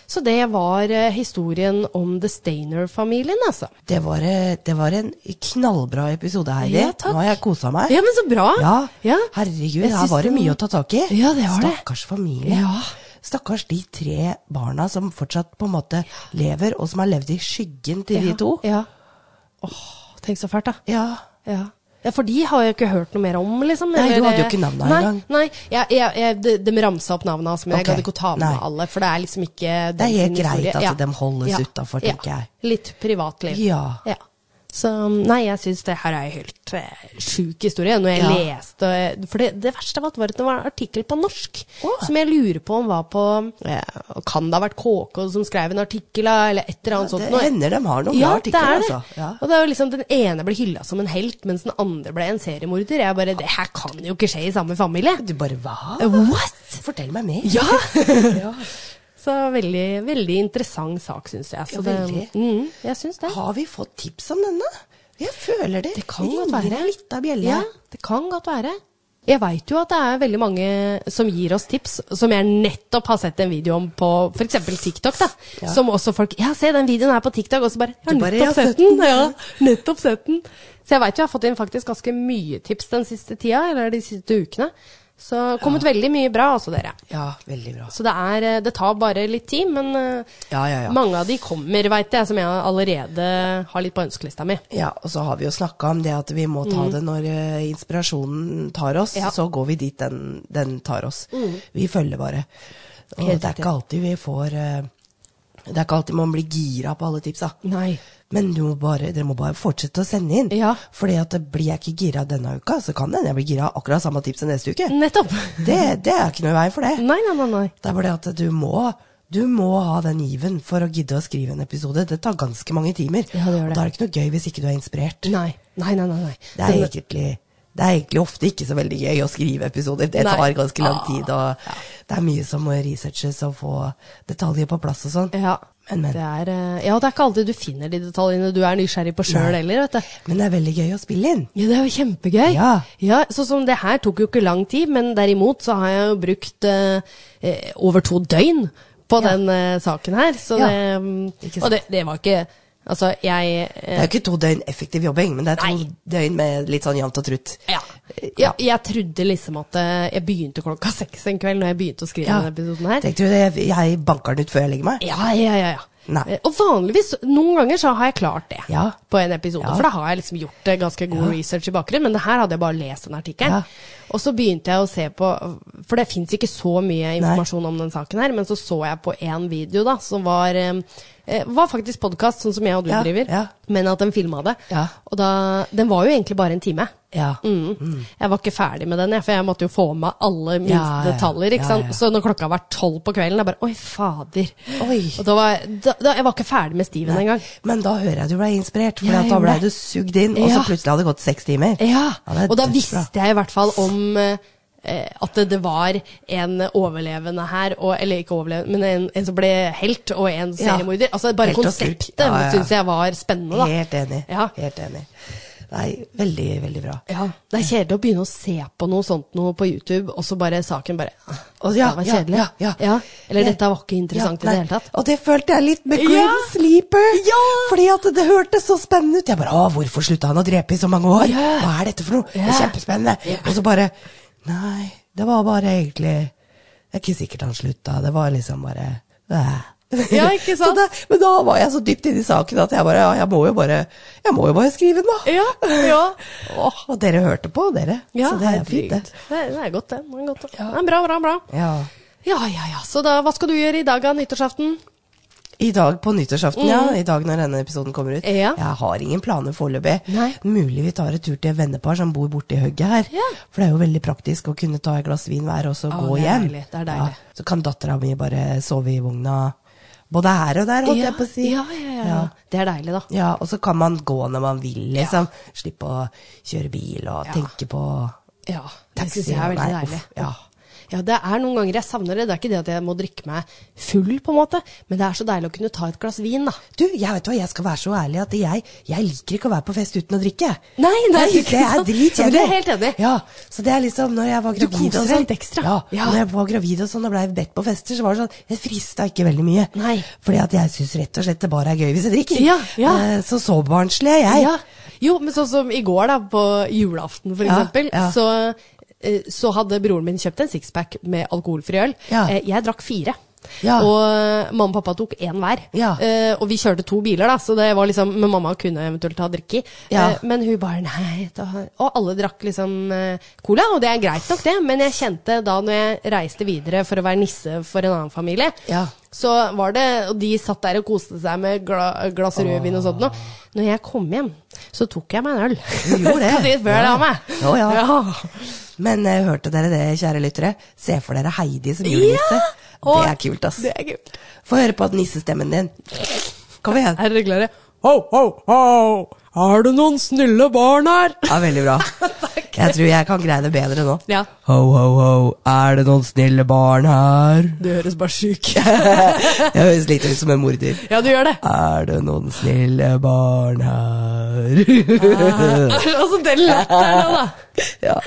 Så det var eh, historien om The Stainer-familien, altså.
Det var, eh, det var en knallbra episode, Heidi.
Ja, takk.
Nå har jeg kosa meg.
Ja, men så bra!
Ja,
Ja.
herregud,
Jeg
her
syns
var det
den-
mye å ta tak i.
Ja, det var det.
Stakkars familie.
Ja.
Stakkars de tre barna som fortsatt på en måte lever, og som har levd i skyggen til
Ja,
de to.
ja. Åh, tenk så fælt, da.
Ja.
Ja. ja, for de har jeg ikke hørt noe mer om, liksom.
Nei, du
eller-
hadde jo ikke navnet
nei,
engang.
Nei, jeg, jeg, jeg, de, de ramsa opp navnene hans, men
Ok.
jeg gadd ikke å ta med
Nei.
meg alle. For det er liksom ikke
Det er
den
helt
sin
greit
historie.
at de holdes utenfor, tenker jeg.
Litt privatliv.
Ja.
Ja. Så um, nei, jeg syns det her er jo helt eh, sjuk historie. Når jeg
Ja.
leste eh, For det, det verste av alt var at det var en artikkel på norsk
Åh.
som jeg lurer på om var på eh, Kan det ha vært KK som skrev en artikkel, da, eller et eller annet
Det
sånt? noe.
hender de har noen bra artikler, altså. Ja.
Og det er jo liksom Den ene ble hylla som en helt, mens den andre ble en seriemorder. Jeg bare Det her kan jo ikke skje i samme familie.
Du bare hva?
Eh, What?!
Fortell meg mer.
<laughs> Ja!
Ja.
Så veldig, veldig interessant sak, syns jeg. Så
Ja,
det,
veldig.
mm, jeg syns det.
Har vi fått tips om denne? Jeg føler det.
Det kan godt
ringer
være.
en lita bjelle.
Ja, det kan godt være. Jeg veit jo at det er veldig mange som gir oss tips, som jeg nettopp har sett en video om på f.eks. TikTok. da,
Ja.
Som også folk Ja, se den videoen her på TikTok, og så bare Jeg
Du bare,
har nettopp
«Jeg har
sett den! Ja, nettopp sett den. Så jeg veit jo jeg har fått inn faktisk ganske mye tips den siste tida, eller de siste ukene. Så det har kommet veldig mye bra, altså, dere.
Ja, veldig bra.
Så det, er, eh, det tar bare litt tid, men eh,
Ja, ja, ja.
mange av de kommer, veit jeg, som jeg allerede har litt på ønskelista mi.
Ja, og så har vi jo snakka om det at vi må ta det når eh, inspirasjonen tar oss.
Mm. Ja. Mm.
Så går vi dit den, den tar oss. Vi følger bare. Og
Helt
det er
riktig.
ikke alltid vi får eh, Det er ikke alltid man blir gira på alle tipsa.
Nei.
Men du må bare, dere må bare fortsette å sende inn.
Ja.
Fordi at blir jeg ikke gira denne uka, så kan det hende jeg blir gira av akkurat samme tipset neste uke.
Nettopp.
Det, det er ikke noe i veien for det.
Nei, nei, nei. nei.
Det er bare det at du må, du må ha den given for å gidde å skrive en episode. Det tar ganske mange timer.
Ja, det gjør det.
Og da er det ikke noe gøy hvis ikke du er inspirert.
Nei, nei, nei. nei, nei.
Det er,
Den-
egentlig, det er egentlig ofte ikke så veldig gøy å skrive episoder. Det
Nei.
tar ganske lang
Ah,
tid, og det er mye som må researches og få detaljer på plass og sånn.
ja.
Men, men.
Det er, eh, ja, det er ikke alltid du finner de detaljene du er nysgjerrig på sjøl
Nei.
heller. vet du.
Men det er veldig gøy å spille inn.
Ja, det er jo kjempegøy.
Ja.
Sånn som det her tok jo ikke lang tid, men derimot så har jeg jo brukt eh, eh, over to døgn på
Ja.
den eh, saken her. Så
Ja.
det mm,
Ikke sant.
Og det, det var ikke Altså, jeg
Det
eh,
er jo ikke to døgn effektiv jobbing, men det er to
Nei.
døgn med litt sånn jevnt og trutt.
ja. ja. Jeg trodde liksom at eh, jeg begynte klokka seks en kveld når jeg begynte å skrive denne episoden her.
Tenkte du det? Jeg- Jeg banker den ut før jeg legger meg.
Ja, ja, ja. ja.
Nei.
Eh, Og vanligvis, noen ganger så har jeg klart det
Ja.
på en episode.
Ja.
For da har jeg liksom gjort eh, ganske god research i bakgrunnen, men det her hadde jeg bare lest den artikkelen.
Ja.
Og så begynte jeg å se på, for det fins ikke så mye informasjon om den saken her, men så så jeg på én video da, som var eh, eh, var faktisk podkast, sånn som jeg og du
Ja,
driver,
ja.
men at den filma det.
Ja.
Og da Den var jo egentlig bare en time.
Ja.
Mm. Jeg var ikke ferdig med den, jeg, for jeg måtte jo få med meg alle minste
Ja, ja, ja.
detaljer. Ikke
Ja,
sant?
ja.
Så når klokka var tolv på kvelden, jeg bare Oi, fader.
Oi.
Og da var, da, da, jeg var ikke ferdig med Steven
Nei.
engang.
Men da hører jeg du ble inspirert, for
Ja, jeg
da ble
gjorde det.
du sugd inn, og så
Ja.
plutselig hadde det gått seks timer.
Ja.
det er
Og da
dødsbra.
visste jeg i hvert fall om eh, eh, at det, det var en overlevende her, og, eller ikke overlevende, men en, en som ble helt, og en
Ja.
seriemorder. Altså bare
Helt og skurk.
konseptet
Ja, ja, ja.
syns jeg var spennende, da.
Helt enig.
Ja.
Helt enig. Nei, veldig, veldig bra.
Ja, Det er kjedelig å begynne å se på noe sånt noe på YouTube, og så bare saken bare «Ah,
Og ja,
Det var
ja,
kjedelig.
ja, ja.
Eller
Ja.
dette var ikke interessant
Ja,
i
nei.
det hele tatt.
Og det følte jeg litt med Green
Ja.
Sleeper.
Ja.
Fordi at det hørtes så spennende ut. Jeg bare Å, hvorfor slutta han å drepe i så mange år?
Ja.
Hva er dette for noe? Det er
Ja.
kjempespennende. Og så bare Nei, det var bare egentlig Det er ikke sikkert han slutta. Det var liksom bare øh.
Ja, ikke sant?
Så det, men da var jeg så dypt inne i saken at jeg bare Ja, jeg må jo bare, jeg må jo bare skrive den, da.
Ja, ja.
Åh, og dere hørte på, dere.
<laughs> Ja,
så det er
herregud.
fint, det.
Det er, det er godt, det. Det er, godt, det. det er bra, bra, bra.
Ja.
Ja, ja, ja. Så da, hva skal du gjøre i dag av nyttårsaften?
I dag på nyttårsaften, ja. I dag når denne episoden kommer ut.
Mm. Ja.
Jeg har ingen planer foreløpig.
Nei.
Mulig vi tar et tur til et vennepar som bor borti hugget her.
Ja.
For det er jo veldig praktisk å kunne ta et glass vin hver og
Å,
så gå
det er
hjem.
deilig, det er deilig.
Ja. Så kan dattera mi bare sove i vogna både her og der, holdt jeg på å si.
Ja, ja, ja, ja.
Ja.
Det er deilig, da.
Ja, og så kan man gå når man vil, liksom. Slippe å kjøre bil og
Ja.
tenke på
Ja, det
Taxi,
syns jeg er veldig
nei,
deilig.
uff, ja.
Ja, det er noen ganger jeg savner det. Det er ikke det at jeg må drikke meg full, på en måte, men det er så deilig å kunne ta et glass vin, da.
Du, jeg vet hva, jeg skal være så ærlig at jeg, jeg liker ikke å være på fest uten å drikke.
Nei, nei,
Jeg synes det
ikke
er
sant? Ja, men
dritkjedelig.
det er jeg helt enig i.
Ja, så det er liksom når jeg var
Du
gravid
koser
og
deg
sånn-
litt ekstra.
Ja,
Ja.
når jeg var gravid og sånn og blei bedt på fester, så var det sånn, jeg frista ikke veldig mye.
Nei.
Fordi at jeg syns rett og slett det bare er gøy hvis jeg drikker.
Ja, ja.
Eh, Så så barnslig er jeg.
Ja. Jo, men sånn som i går, da, på julaften for
Ja,
eksempel,
ja.
Så, eh, så hadde broren min kjøpt en sixpack med alkoholfri øl.
Ja.
Eh, Jeg drakk fire.
Ja.
Og eh, mamma og pappa tok én hver.
Ja.
Eh, og vi kjørte to biler, da, så det var liksom Men mamma kunne eventuelt ha drikke i.
Ja.
Eh, men hun bare nei. Da, og alle drakk liksom eh, cola, og det er greit nok, det. Men jeg kjente da når jeg reiste videre for å være nisse for en annen familie,
Ja.
så var det Og de satt der og koste seg med gla, glass rødvin og sånt noe. Når jeg kom hjem, så tok jeg meg en øl.
<laughs> Du gjorde
<laughs>
det.
Skal si før
Ja.
det av meg.
Å,
<laughs>
ja.
ja.
Men eh, hørte dere det, kjære lyttere? Se for dere Heidi som julenisse.
Og-
Det er kult, ass.
Det er kult.
Få høre på nissestemmen din. Kom igjen.
Er dere klare? Ho, ho, ho! Er det noen snille barn her?
Ja,
<laughs>
veldig bra. Jeg tror jeg kan greie det bedre nå.
Ja.
Ho, ho, ho, er det noen snille barn her? <laughs>
Du høres bare sjuk
Jeg høres litt ut som en morder.
Ja, du gjør det.
Er det noen snille barn her? <laughs>
<laughs> altså, den latteren nå, da.
ja.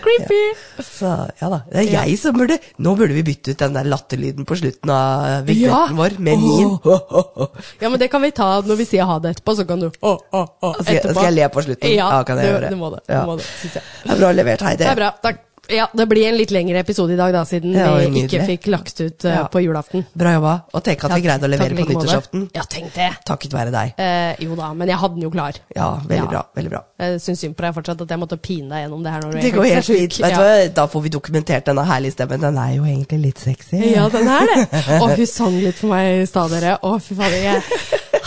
Creepy.
Så, ja da. Det er jeg som burde Nå burde vi bytte ut den der latterlyden på slutten av vignetten
Ja.
vår med min.
Ja, men det kan vi ta når vi sier ha det etterpå, så kan du å, å, å
Skal jeg-
etterpå.
skal jeg le på slutten?
Ja,
Ja, kan jeg
det,
gjøre det?
det må det.
Ja.
det, må det synes jeg.
Det er bra levert, Heidi.
Det er bra. Takk. Ja, det blir en litt lengre episode i dag, da, siden
Ja, det var
vi ikke
nydelig.
fikk lagt ut eh,
Ja.
på julaften.
Bra jobba. Og tenk at vi
Takk.
greide å levere
Takk i
på
like måte.
nyttårsaften.
Ja, tenk det.
Takket være deg.
Eh, jo da, men jeg hadde den jo klar.
Ja,
Ja.
veldig bra. veldig bra.
Jeg syns synd på deg fortsatt at jeg måtte pine deg gjennom det her. Når du
Det
egentlig
går helt
er sjuk.
fint. Vet du
ja.
hva? Da får vi dokumentert denne herlige stemmen. Den er jo egentlig litt sexy.
<laughs> Ja, den er det. Og hun sang litt for meg i stad, dere. Å, fy fader. Jeg...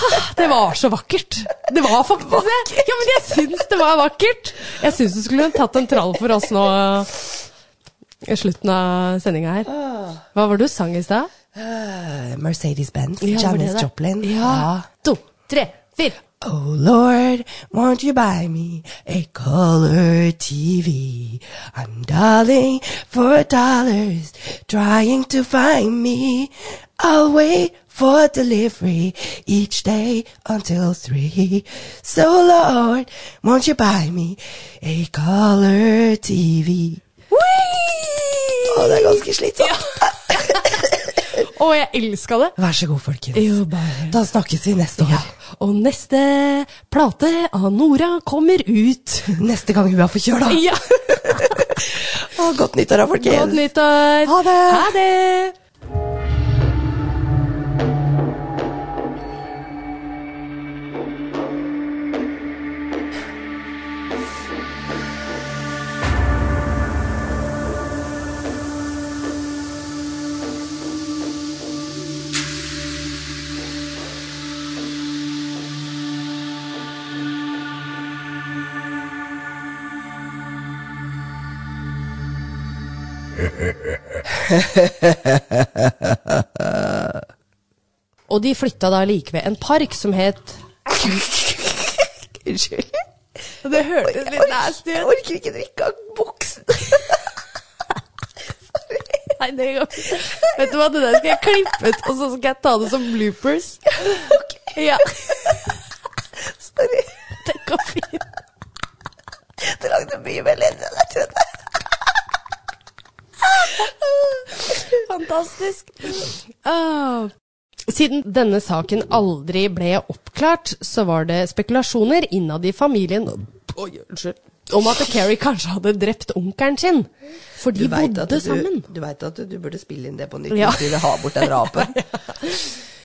Ah, Det var så vakkert. Det var faktisk det. Ja, men jeg syns det var vakkert. Jeg syns du skulle tatt en trall for oss nå i slutten av sendinga her. Hva var det du sang i stad?
Eh, Mercedes-Benz,
Ja, var det
Janis
det?
Joplin.
Ja.
Ah,
To, tre, fire.
Oh Lord, won't you buy me a color TV? I'm darling for dollars, trying to find me. I'll wait for delivery each day until three. So Lord, won't you buy me a color TV? Å, det er ganske slitsomt.
Å, jeg elska det.
Vær så god, folkens.
Jo, bare-
Da snakkes vi neste år.
Ja. Og neste plate av Nora kommer ut.
Neste gang hun er forkjøla.
Ja.
Å, Godt nyttår, da, folkens.
Godt nyttår.
Ha det.
Ha det. Og de flytta da like ved en park som het
Unnskyld.
Det hørtes
Jeg orker, jeg orker ikke drikke av buksen. <laughs>
Nei, det går ikke. Vet du hva, det der skal jeg klippe ut, og så skal jeg ta det som bloopers.
Ok,
<laughs> Ja,
sorry.
det går fint.
Det lagde mye mer ledd enn jeg trodde.
Fantastisk. Ah. Siden denne saken aldri ble oppklart, så var det spekulasjoner innad i familien Oi, unnskyld. om at Carrie kanskje hadde drept onkelen sin. For de bodde sammen.
du, du vet at du, du burde spille inn det på nytt
Ja. <laughs>
hvis du vil ha bort den rapen.